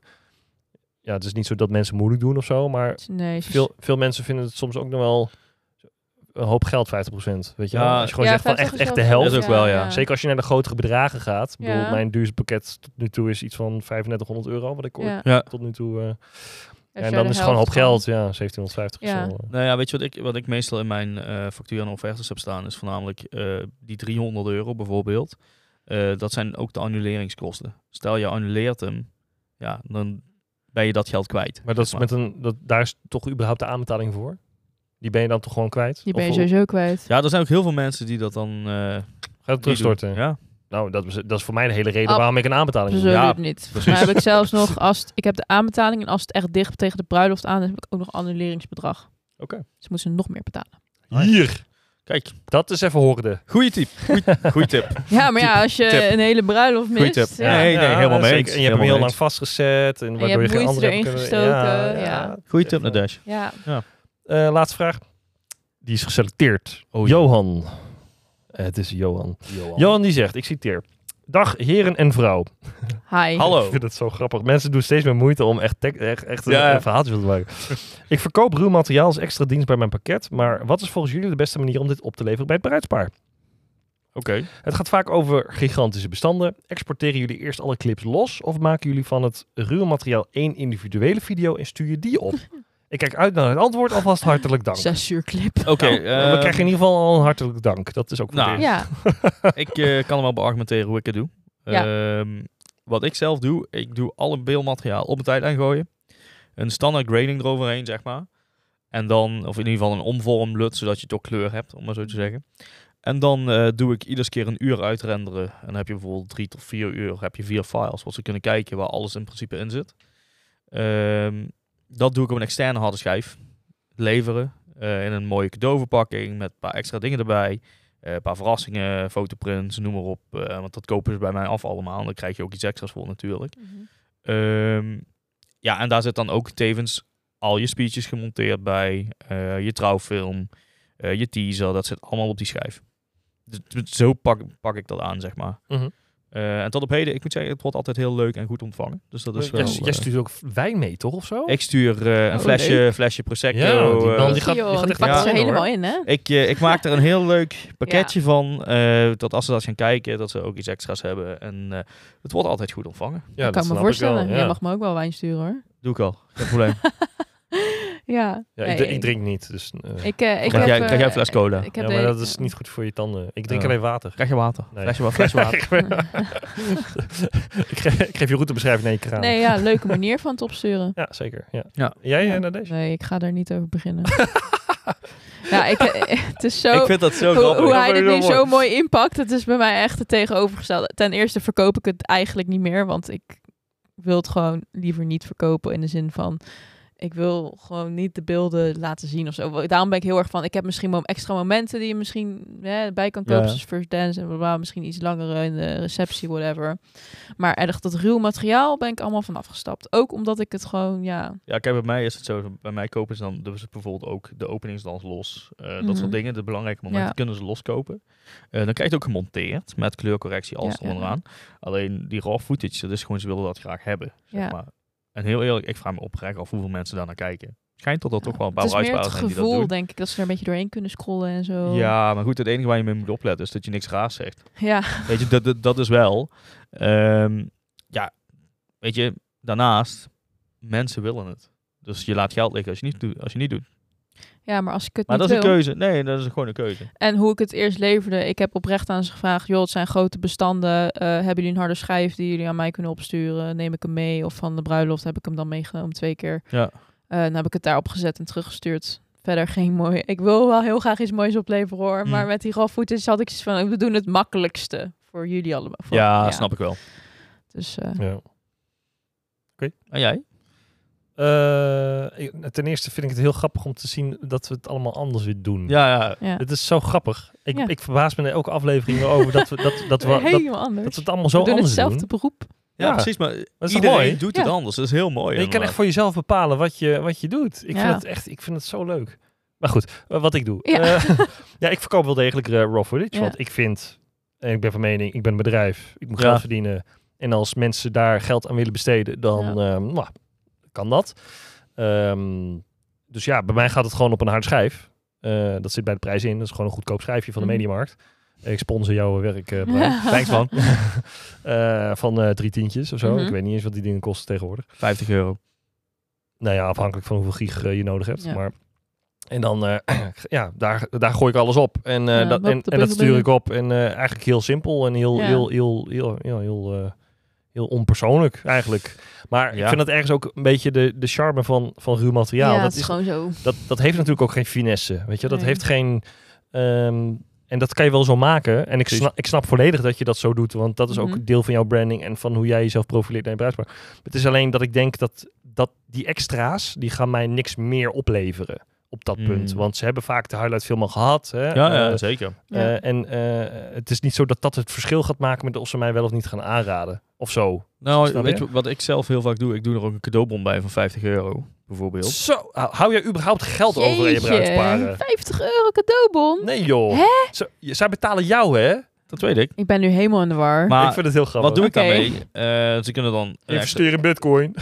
Speaker 2: ja, het is niet zo dat mensen moeilijk doen of zo, maar
Speaker 1: Nee, ze-
Speaker 2: veel, veel mensen vinden het soms ook nog wel een hoop geld 50%. Weet je wel?
Speaker 3: Ja.
Speaker 2: Als je gewoon
Speaker 1: Ja,
Speaker 2: zegt van
Speaker 1: 50
Speaker 2: echt,
Speaker 1: is
Speaker 2: echt
Speaker 1: wel
Speaker 2: de helft.
Speaker 3: Dat is ook wel, ja.
Speaker 2: Zeker als je naar de grotere bedragen gaat. Ik bedoel,
Speaker 1: Ja.
Speaker 2: mijn duurste pakket tot nu toe is iets van 3500 euro, wat ik ooit
Speaker 1: Ja.
Speaker 3: Ja.
Speaker 2: tot nu toe... eh,
Speaker 1: Als
Speaker 2: en
Speaker 1: jij
Speaker 2: dan
Speaker 1: de
Speaker 2: is het gewoon op
Speaker 1: helft
Speaker 2: geld, ja, 1750
Speaker 1: Ja.
Speaker 2: of zo.
Speaker 3: Nou ja, weet je wat ik, wat ik meestal in mijn eh factuur en offertes heb staan, is voornamelijk eh, die 300 euro bijvoorbeeld. Eh, dat zijn ook de annuleringskosten. Stel je annuleert hem, ja, dan ben je dat geld kwijt.
Speaker 2: Maar dat is
Speaker 3: zeg
Speaker 2: met een, dat, daar is toch überhaupt de aanbetaling voor? Die ben je dan toch gewoon kwijt?
Speaker 1: Die ben je
Speaker 2: Of
Speaker 1: sowieso kwijt.
Speaker 3: Ja, er zijn ook heel veel mensen die dat dan eh, niet
Speaker 2: Gaat het terugstorten?
Speaker 3: doen. Ja.
Speaker 2: Nou, dat is, dat is voor mij de hele reden
Speaker 1: Ah,
Speaker 2: waarom ik een aanbetaling doe.
Speaker 1: Absoluut
Speaker 3: Ja,
Speaker 1: niet.
Speaker 3: precies.
Speaker 1: Maar heb ik zelfs nog, als het- ik heb de aanbetaling en als het echt dicht tegen de bruiloft aan, dan heb ik ook nog annuleringsbedrag.
Speaker 2: Oké.
Speaker 1: Dus moeten ze nog meer betalen.
Speaker 2: Hier,
Speaker 3: Kijk,
Speaker 2: dat is even hoorde.
Speaker 3: goede tip. Goeie, goeie tip.
Speaker 1: Ja, maar ja, als je
Speaker 3: tip.
Speaker 1: een hele bruiloft
Speaker 3: Goeie
Speaker 1: mist.
Speaker 3: tip.
Speaker 1: Ja.
Speaker 3: Nee, nee, helemaal mee
Speaker 2: zeker. En
Speaker 3: eens.
Speaker 2: je hebt hem
Speaker 3: Helemaal
Speaker 2: heel
Speaker 3: mee
Speaker 2: lang
Speaker 3: eens.
Speaker 2: vastgezet. En, waardoor
Speaker 1: hebt
Speaker 2: geen
Speaker 1: moeite
Speaker 2: andere hebt
Speaker 1: erin
Speaker 2: kunnen- ja,
Speaker 1: gestoken, ja.
Speaker 3: Goeie
Speaker 2: Eh,
Speaker 3: tip, Nadesh.
Speaker 1: ja.
Speaker 2: eh, laatste vraag. Die is geselecteerd. Johan. Eh, het is Johan. Johan die zegt, ik citeer. Dag heren en vrouw.
Speaker 1: Hi.
Speaker 2: Ik
Speaker 3: Hallo.
Speaker 2: vind het zo grappig. Mensen doen steeds meer moeite om echt, tek- echt, echt een,
Speaker 3: Ja.
Speaker 2: een verhaaltje van te maken. ik verkoop ruw materiaal als extra dienst bij mijn pakket. Maar wat is volgens jullie de beste manier om dit op te leveren bij het bruidspaar?
Speaker 3: Oké.
Speaker 2: Het gaat vaak over gigantische bestanden. Exporteren jullie eerst alle clips los? Of maken jullie van het ruwe materiaal één individuele video en stuur je die op? ik kijk uit naar het antwoord. Alvast hartelijk dank.
Speaker 1: Zes uur clip.
Speaker 3: Oké.
Speaker 2: Nou,
Speaker 3: eh,
Speaker 2: we krijgen in ieder geval al een hartelijk dank. Dat is ook voor
Speaker 3: Nou,
Speaker 2: het eerst.
Speaker 1: Ja,
Speaker 3: ik eh, kan wel beargumenteren hoe ik het doe.
Speaker 1: Ja.
Speaker 3: Ehm, wat ik zelf doe, ik doe alle beeldmateriaal op een tijdlijn gooien. Een standaard grading eroverheen, zeg maar. En dan, of in ieder geval een omvormlut, zodat je toch kleur hebt, om maar zo te zeggen. En dan eh, doe ik ieders keer een uur uitrenderen. En dan heb je bijvoorbeeld drie tot vier uur, heb je vier files, wat ze kunnen kijken, waar alles in principe in zit. Ehm, dat doe ik op een externe harde schijf. Leveren. eh, in een mooie cadeauverpakking met een paar extra dingen erbij. Eh, een paar verrassingen, fotoprints, noem maar op. eh, want dat kopen ze bij mij af allemaal. Dan krijg je ook iets extra's voor natuurlijk. Ehm, ja, en daar zit dan ook tevens al je speeches gemonteerd bij. eh, je trouwfilm, eh, je teaser. Dat zit allemaal op die schijf. Dus t- zo pak, pak ik dat aan, zeg maar.
Speaker 2: Mhm.
Speaker 3: Eh, en tot op heden, ik moet zeggen, het wordt altijd heel leuk en goed ontvangen. Dus dat is wel...
Speaker 2: Jij- Jij
Speaker 3: eh,
Speaker 2: stuurt ook wijn mee, toch? Of zo?
Speaker 3: ik stuur eh, een
Speaker 1: Oh,
Speaker 3: flesje,
Speaker 1: leuk.
Speaker 3: flesje Prosecco.
Speaker 2: Ja, die
Speaker 3: eh,
Speaker 2: man
Speaker 1: die gaat,
Speaker 2: die gaat echt
Speaker 1: pakt
Speaker 3: hard
Speaker 1: ze
Speaker 3: in, hoor.
Speaker 1: helemaal in, hè?
Speaker 3: Ik, eh, ik maak er een heel leuk pakketje van. eh, dat als ze dat gaan kijken, dat ze ook iets extra's hebben. En eh, het wordt altijd goed ontvangen.
Speaker 2: Ja,
Speaker 1: ik kan me
Speaker 2: snap
Speaker 1: voorstellen.
Speaker 2: wel,
Speaker 1: Jij
Speaker 2: ja.
Speaker 1: mag me ook wel wijn sturen, hoor.
Speaker 3: Doe ik al. Geen probleem.
Speaker 1: Ja,
Speaker 2: Ja,
Speaker 1: nee,
Speaker 2: ik, dr- ik drink niet, dus... eh,
Speaker 1: Ik, eh, ik
Speaker 3: krijg,
Speaker 1: heb,
Speaker 3: jij, krijg jij een
Speaker 1: eh,
Speaker 3: fles cola?
Speaker 1: Ik heb
Speaker 2: ja,
Speaker 1: de-
Speaker 2: maar dat is niet goed voor je tanden. Ik drink
Speaker 3: Ja.
Speaker 2: alleen water.
Speaker 3: Krijg je water?
Speaker 2: Nee.
Speaker 3: Flesje, wa- flesje water.
Speaker 2: ik, geef, ik geef je routebeschrijving naar je kraan.
Speaker 1: Nee, ja, leuke manier van het opsturen.
Speaker 2: Ja, zeker. Ja.
Speaker 3: Ja.
Speaker 2: Jij
Speaker 1: Ja.
Speaker 2: eh, naar deze?
Speaker 1: Dus- Nee, ik ga daar niet over beginnen. ja, ik, eh, het is zo...
Speaker 3: ik vind dat zo
Speaker 1: Hoe,
Speaker 3: grappig.
Speaker 1: hoe
Speaker 2: Dat
Speaker 1: hij
Speaker 2: vind
Speaker 1: dit
Speaker 2: ik
Speaker 1: nu
Speaker 2: wel mooi.
Speaker 1: zo mooi inpakt, dat is bij mij echt het tegenovergestelde. Ten eerste verkoop ik het eigenlijk niet meer, want ik wil het gewoon liever niet verkopen in de zin van... ik wil gewoon niet de beelden laten zien of zo. Daarom ben ik heel erg van, ik heb misschien wel extra momenten die je misschien hè, bij kan kopen,
Speaker 2: Ja.
Speaker 1: zoals first dance en blablabla, misschien iets langer in de receptie, whatever. Maar echt dat ruw materiaal ben ik allemaal van afgestapt. Ook omdat ik het gewoon, ja,
Speaker 3: Ja, kijk, bij mij is het zo. Bij mij kopen ze dan dus bijvoorbeeld ook de openingsdans los. Eh, Dat
Speaker 1: Mhm.
Speaker 3: soort dingen, de belangrijke momenten,
Speaker 1: Ja.
Speaker 3: kunnen ze loskopen. Eh dan krijg je het ook gemonteerd met kleurcorrectie, alles
Speaker 1: Ja, ja,
Speaker 3: eronder aan. Alleen die raw footage, dat is gewoon, ze willen dat graag hebben. Zeg
Speaker 1: Ja.
Speaker 3: maar. En heel eerlijk, ik vraag me oprecht af hoeveel mensen daar naar kijken. Schijnt dat er toch wel een paar
Speaker 1: het is meer het
Speaker 3: bruidspaarden zijn die dat
Speaker 1: gevoel,
Speaker 3: doen.
Speaker 1: denk ik, dat ze er een beetje doorheen kunnen scrollen en zo.
Speaker 3: Ja, maar goed, het enige waar je mee moet opletten is dat je niks raars zegt.
Speaker 1: Ja.
Speaker 3: Weet je, dat, dat, dat is wel. Ehm, ja, weet je, daarnaast, mensen willen het. Dus je laat geld liggen als je niet, doet- als je niet doet.
Speaker 1: Ja, maar als ik het
Speaker 3: Maar
Speaker 1: niet
Speaker 3: dat is een
Speaker 1: wil-
Speaker 3: keuze. Nee, dat is gewoon een keuze.
Speaker 1: En hoe ik het eerst leverde, ik heb oprecht aan ze gevraagd: joh, het zijn grote bestanden. eh, hebben jullie een harde schijf die jullie aan mij kunnen opsturen? Neem ik hem mee? Of van de bruiloft heb ik hem dan meegenomen twee keer.
Speaker 3: Ja.
Speaker 1: Eh, dan heb ik het daarop gezet en teruggestuurd. Verder geen mooi. Ik wil wel heel graag iets moois opleveren hoor.
Speaker 3: Hmm.
Speaker 1: Maar met die raw footage had ik zoiets van: we doen het makkelijkste voor jullie allemaal. Voor-
Speaker 3: ja, snap ik wel.
Speaker 1: Dus eh,
Speaker 2: Ja.
Speaker 3: En jij?
Speaker 2: Eh, ik- ten eerste vind ik het heel grappig om te zien dat we het allemaal anders weer doen.
Speaker 3: Ja, ja.
Speaker 1: ja.
Speaker 2: Het is zo grappig. Ik,
Speaker 1: Ja.
Speaker 2: ik verbaas me er elke aflevering weer over dat we, dat, dat, we, dat,
Speaker 1: Helemaal anders.
Speaker 2: dat we het allemaal zo
Speaker 1: we doen
Speaker 2: anders
Speaker 1: hetzelfde
Speaker 2: doen.
Speaker 1: beroep.
Speaker 2: Ja.
Speaker 3: precies. Maar
Speaker 2: toch
Speaker 3: iedereen
Speaker 2: mooi?
Speaker 3: doet
Speaker 1: Ja.
Speaker 3: het anders. Dat is heel mooi.
Speaker 2: je kan
Speaker 3: inderdaad.
Speaker 2: echt voor jezelf bepalen wat je, wat je doet. Ik,
Speaker 1: Ja.
Speaker 2: vind het echt, ik vind het zo leuk. Maar goed, eh, wat ik doe.
Speaker 1: Ja.
Speaker 2: Eh, ja, ik verkoop wel degelijk eh, raw footage.
Speaker 1: Ja.
Speaker 2: Want ik vind, en ik ben van mening, ik ben een bedrijf. Ik moet
Speaker 3: Ja.
Speaker 2: geld verdienen. En als mensen daar geld aan willen besteden, dan ehm, nou, kan dat. Ehm, dus ja, bij mij gaat het gewoon op een hard schijf. Eh, dat zit bij de prijs in. Dat is gewoon een goedkoop schijfje van de
Speaker 1: Mhm.
Speaker 2: Mediamarkt. Eh, Ik sponsor jouw werk, eh Brian.
Speaker 3: Thanks man.
Speaker 2: Eh, van eh, drie tientjes of zo.
Speaker 1: Mhm.
Speaker 2: Ik weet niet eens wat die dingen kosten tegenwoordig.
Speaker 3: 50 euro.
Speaker 2: Nou ja, afhankelijk van hoeveel gig eh, je nodig hebt.
Speaker 1: Ja.
Speaker 2: Maar, en dan, eh, ja, daar, daar gooi ik alles op. En, eh,
Speaker 1: Ja,
Speaker 2: dat,
Speaker 1: dat-
Speaker 2: en,
Speaker 1: dat
Speaker 2: en dat
Speaker 1: is-
Speaker 2: stuur ik op. En eh, eigenlijk heel simpel en heel,
Speaker 1: Ja.
Speaker 2: heel, heel, heel, heel, heel, eh, heel onpersoonlijk eigenlijk. Maar ik
Speaker 3: Ja.
Speaker 2: vind dat ergens ook een beetje de, de charme van, van ruw materiaal.
Speaker 1: ja,
Speaker 2: dat,
Speaker 1: het
Speaker 2: is,
Speaker 1: is gewoon zo.
Speaker 2: dat, dat heeft natuurlijk ook geen finesse. Weet je, dat
Speaker 1: Nee.
Speaker 2: heeft geen... ehm, en dat kan je wel zo maken. En ik
Speaker 3: Precies.
Speaker 2: snap, ik snap volledig dat je dat zo doet. Want dat is
Speaker 1: Mhm.
Speaker 2: ook deel van jouw branding en van hoe jij jezelf profileert naar je bruidspaar. Het is alleen dat ik denk dat, dat die extra's, die gaan mij niks meer opleveren op dat
Speaker 3: Mm.
Speaker 2: punt. Want ze hebben vaak de highlight film al gehad. Hè?
Speaker 3: Ja, ja,
Speaker 2: Eh,
Speaker 3: zeker.
Speaker 1: Ja.
Speaker 2: eh, en eh, het is niet zo dat dat het verschil gaat maken met of ze mij wel of niet gaan aanraden. Of zo.
Speaker 3: Nou,
Speaker 2: Snap
Speaker 3: weet
Speaker 2: je?
Speaker 3: je wat ik zelf heel vaak doe? Ik doe er ook een cadeaubon bij van 50 euro, bijvoorbeeld.
Speaker 2: Zo, hou hou jij überhaupt geld over aan je
Speaker 1: Jeetje,
Speaker 2: bruidsparen?
Speaker 1: 50 euro cadeaubon.
Speaker 2: Nee joh. Ze- je- zij betalen jou hè?
Speaker 3: Dat weet ik.
Speaker 1: Ik ben nu helemaal in de war.
Speaker 3: Maar
Speaker 2: ik vind het heel grappig.
Speaker 3: wat doe ik
Speaker 1: Oké.
Speaker 3: daarmee? Eh, ze kunnen dan... eh,
Speaker 2: Investeer in bitcoin.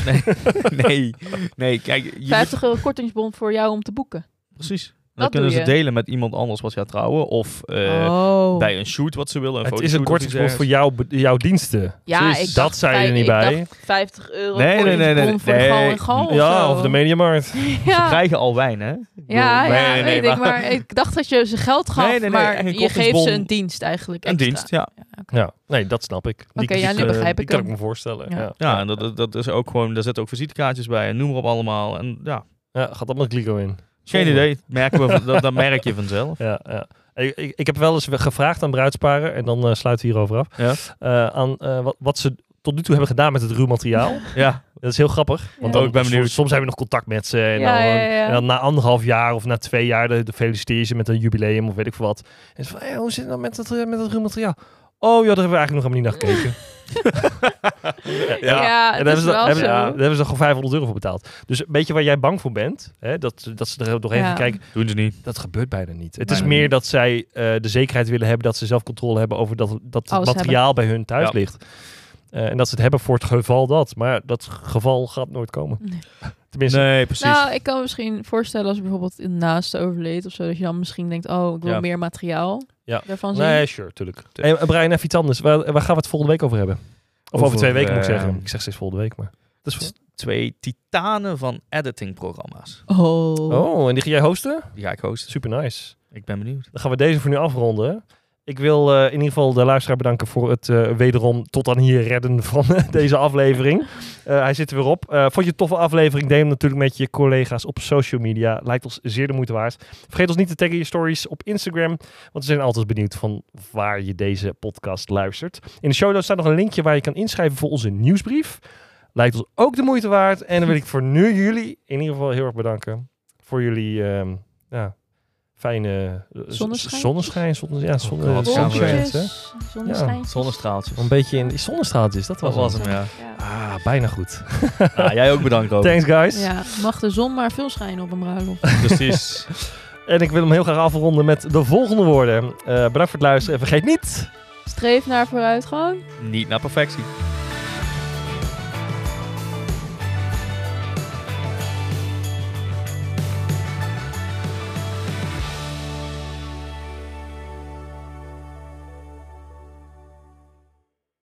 Speaker 3: nee, nee, kijk. Je moet-
Speaker 1: 50 euro kortingsbon voor jou om te boeken.
Speaker 3: precies. En
Speaker 1: Dat
Speaker 3: dan kunnen
Speaker 1: doe
Speaker 3: ze
Speaker 1: je.
Speaker 3: delen met iemand anders wat ze gaat trouwen. Of eh,
Speaker 1: oh.
Speaker 3: bij een shoot wat ze willen.
Speaker 2: Het is een kortingsbon voor jouw, be- jouw diensten.
Speaker 1: ja, ik
Speaker 2: Precies. dat
Speaker 1: dacht
Speaker 2: zei je er
Speaker 1: vij-
Speaker 2: niet
Speaker 1: ik
Speaker 2: bij.
Speaker 1: dacht 50 euro
Speaker 3: Nee, nee, nee, nee,
Speaker 1: kortingsbon voor
Speaker 3: nee.
Speaker 1: de gal en gal.
Speaker 2: ja,
Speaker 1: zo.
Speaker 2: of de mediamarkt.
Speaker 3: Ze
Speaker 1: Ja,
Speaker 3: krijgen al wijn, hè? Ik bedoel,
Speaker 1: ja,
Speaker 3: nee,
Speaker 1: ja
Speaker 3: nee, nee,
Speaker 1: weet ik. Maar ik dacht dat je ze geld gaf,
Speaker 3: Nee, nee, nee,
Speaker 1: maar
Speaker 3: echt een
Speaker 1: je geeft ze
Speaker 3: kortingsbon.
Speaker 1: een dienst eigenlijk
Speaker 3: Een
Speaker 1: extra.
Speaker 3: dienst, ja.
Speaker 2: Ja, nee, dat snap ik. Die-
Speaker 1: Oké,
Speaker 2: die-
Speaker 1: ja, nu
Speaker 2: eh,
Speaker 1: begrijp ik
Speaker 2: Die kan
Speaker 1: hem.
Speaker 2: ik me voorstellen.
Speaker 1: Ja.
Speaker 2: Ja,
Speaker 3: Ja, en dat- dat, dat is ook gewoon, daar zitten ook visitekaartjes bij en noem maar op allemaal. En ja,
Speaker 2: Ja, gaat allemaal kliko in.
Speaker 3: geen
Speaker 2: Zonde.
Speaker 3: idee, dat merken we, van- dat, dat merk je vanzelf.
Speaker 2: Ja, ja. Ik, ik, ik heb wel eens gevraagd aan bruidsparen, en dan eh, sluiten we hierover af,
Speaker 3: Ja.
Speaker 2: eh, aan eh, wat, wat ze tot nu toe hebben gedaan met het ruw materiaal.
Speaker 3: Ja,
Speaker 2: Dat is heel grappig. Want
Speaker 1: Ja.
Speaker 2: dan,
Speaker 3: Oh, ik ben
Speaker 2: soms-
Speaker 3: benieuwd.
Speaker 2: Soms, hebben we nog contact met ze. En,
Speaker 1: Ja,
Speaker 2: dan,
Speaker 1: ja, ja.
Speaker 2: en dan na anderhalf jaar of na twee jaar dan dan feliciteer je ze met een jubileum of weet ik veel wat. En ze van, hey, hoe zit het dan met dat, eh, met dat ruw materiaal? Oh ja, daar hebben we eigenlijk nog helemaal niet naar gekeken.
Speaker 1: Ja, het
Speaker 2: En
Speaker 1: is
Speaker 2: daar hebben, ze,
Speaker 1: wel
Speaker 2: hebben,
Speaker 1: zo.
Speaker 2: ja, daar hebben ze gewoon 500 euro voor betaald. Dus weet je waar jij bang voor bent? Hè? Dat, dat ze er doorheen
Speaker 1: Ja.
Speaker 2: gaan kijken.
Speaker 3: doen ze niet.
Speaker 2: Dat gebeurt bijna niet. Het
Speaker 3: Bijna
Speaker 2: is meer
Speaker 3: niet.
Speaker 2: dat zij eh, de zekerheid willen hebben dat ze zelf controle hebben over dat, dat het
Speaker 1: Alles
Speaker 2: materiaal bij hun thuis
Speaker 3: Ja.
Speaker 2: ligt. Eh, en dat ze het hebben voor het geval dat. Maar dat geval gaat nooit komen.
Speaker 1: Nee.
Speaker 2: Tenminste,
Speaker 3: Nee, precies.
Speaker 1: Nou, ik kan me misschien voorstellen als er bijvoorbeeld een naaste overleed of zo, dat je dan misschien denkt, oh, ik wil
Speaker 3: Ja.
Speaker 1: meer materiaal
Speaker 2: Ja.
Speaker 1: daarvan zien.
Speaker 2: nee, sure, tuurlijk. Hey, eh, Brian, even iets anders. Waar, waar gaan we het volgende week over hebben? Of over,
Speaker 3: Over,
Speaker 2: twee weken moet ik
Speaker 3: eh,
Speaker 2: zeggen. Ik zeg steeds volgende week, maar... Dat is-
Speaker 3: Twee titanen van editingprogramma's.
Speaker 1: Oh.
Speaker 2: oh, en die ga jij hosten?
Speaker 3: Die ga ik hosten.
Speaker 2: Super nice.
Speaker 3: Ik ben benieuwd.
Speaker 2: Dan gaan we deze voor nu afronden. Ik wil eh, in ieder geval de luisteraar bedanken voor het eh, wederom tot aan hier redden van eh, deze aflevering. Eh, hij zit er weer op. Eh, vond je het een toffe aflevering? Deel hem natuurlijk met je collega's op social media. Lijkt ons zeer de moeite waard. Vergeet ons niet te taggen in je stories op Instagram. Want we zijn altijd benieuwd van waar je deze podcast luistert. In de show notes staat nog een linkje waar je kan inschrijven voor onze nieuwsbrief. Lijkt ons ook de moeite waard. En dan wil ik voor nu jullie in ieder geval heel erg bedanken voor jullie ehm, ja, fijne eh, z-
Speaker 1: Zonneschijn?
Speaker 2: zonneschijn. zonne- ja, zonne-
Speaker 3: God, wat gaan we
Speaker 2: zonneschijn,
Speaker 1: Wolkjes,
Speaker 2: hè?
Speaker 1: zonneschijntjes.
Speaker 3: Zonnestraaltjes.
Speaker 2: Een beetje in die zonnestraaltjes, dat was,
Speaker 3: Dat was
Speaker 2: het.
Speaker 3: hem, ja.
Speaker 1: Ja.
Speaker 2: Ah, bijna goed.
Speaker 3: Ah, jij ook bedankt, Robert.
Speaker 2: Thanks, guys.
Speaker 1: Ja, mag de zon maar veel schijnen op een bruiloft.
Speaker 3: Precies.
Speaker 2: En ik wil hem heel graag afronden met de volgende woorden. Eh, bedankt voor het luisteren en vergeet niet...
Speaker 1: Streef naar vooruitgang.
Speaker 3: Niet naar perfectie.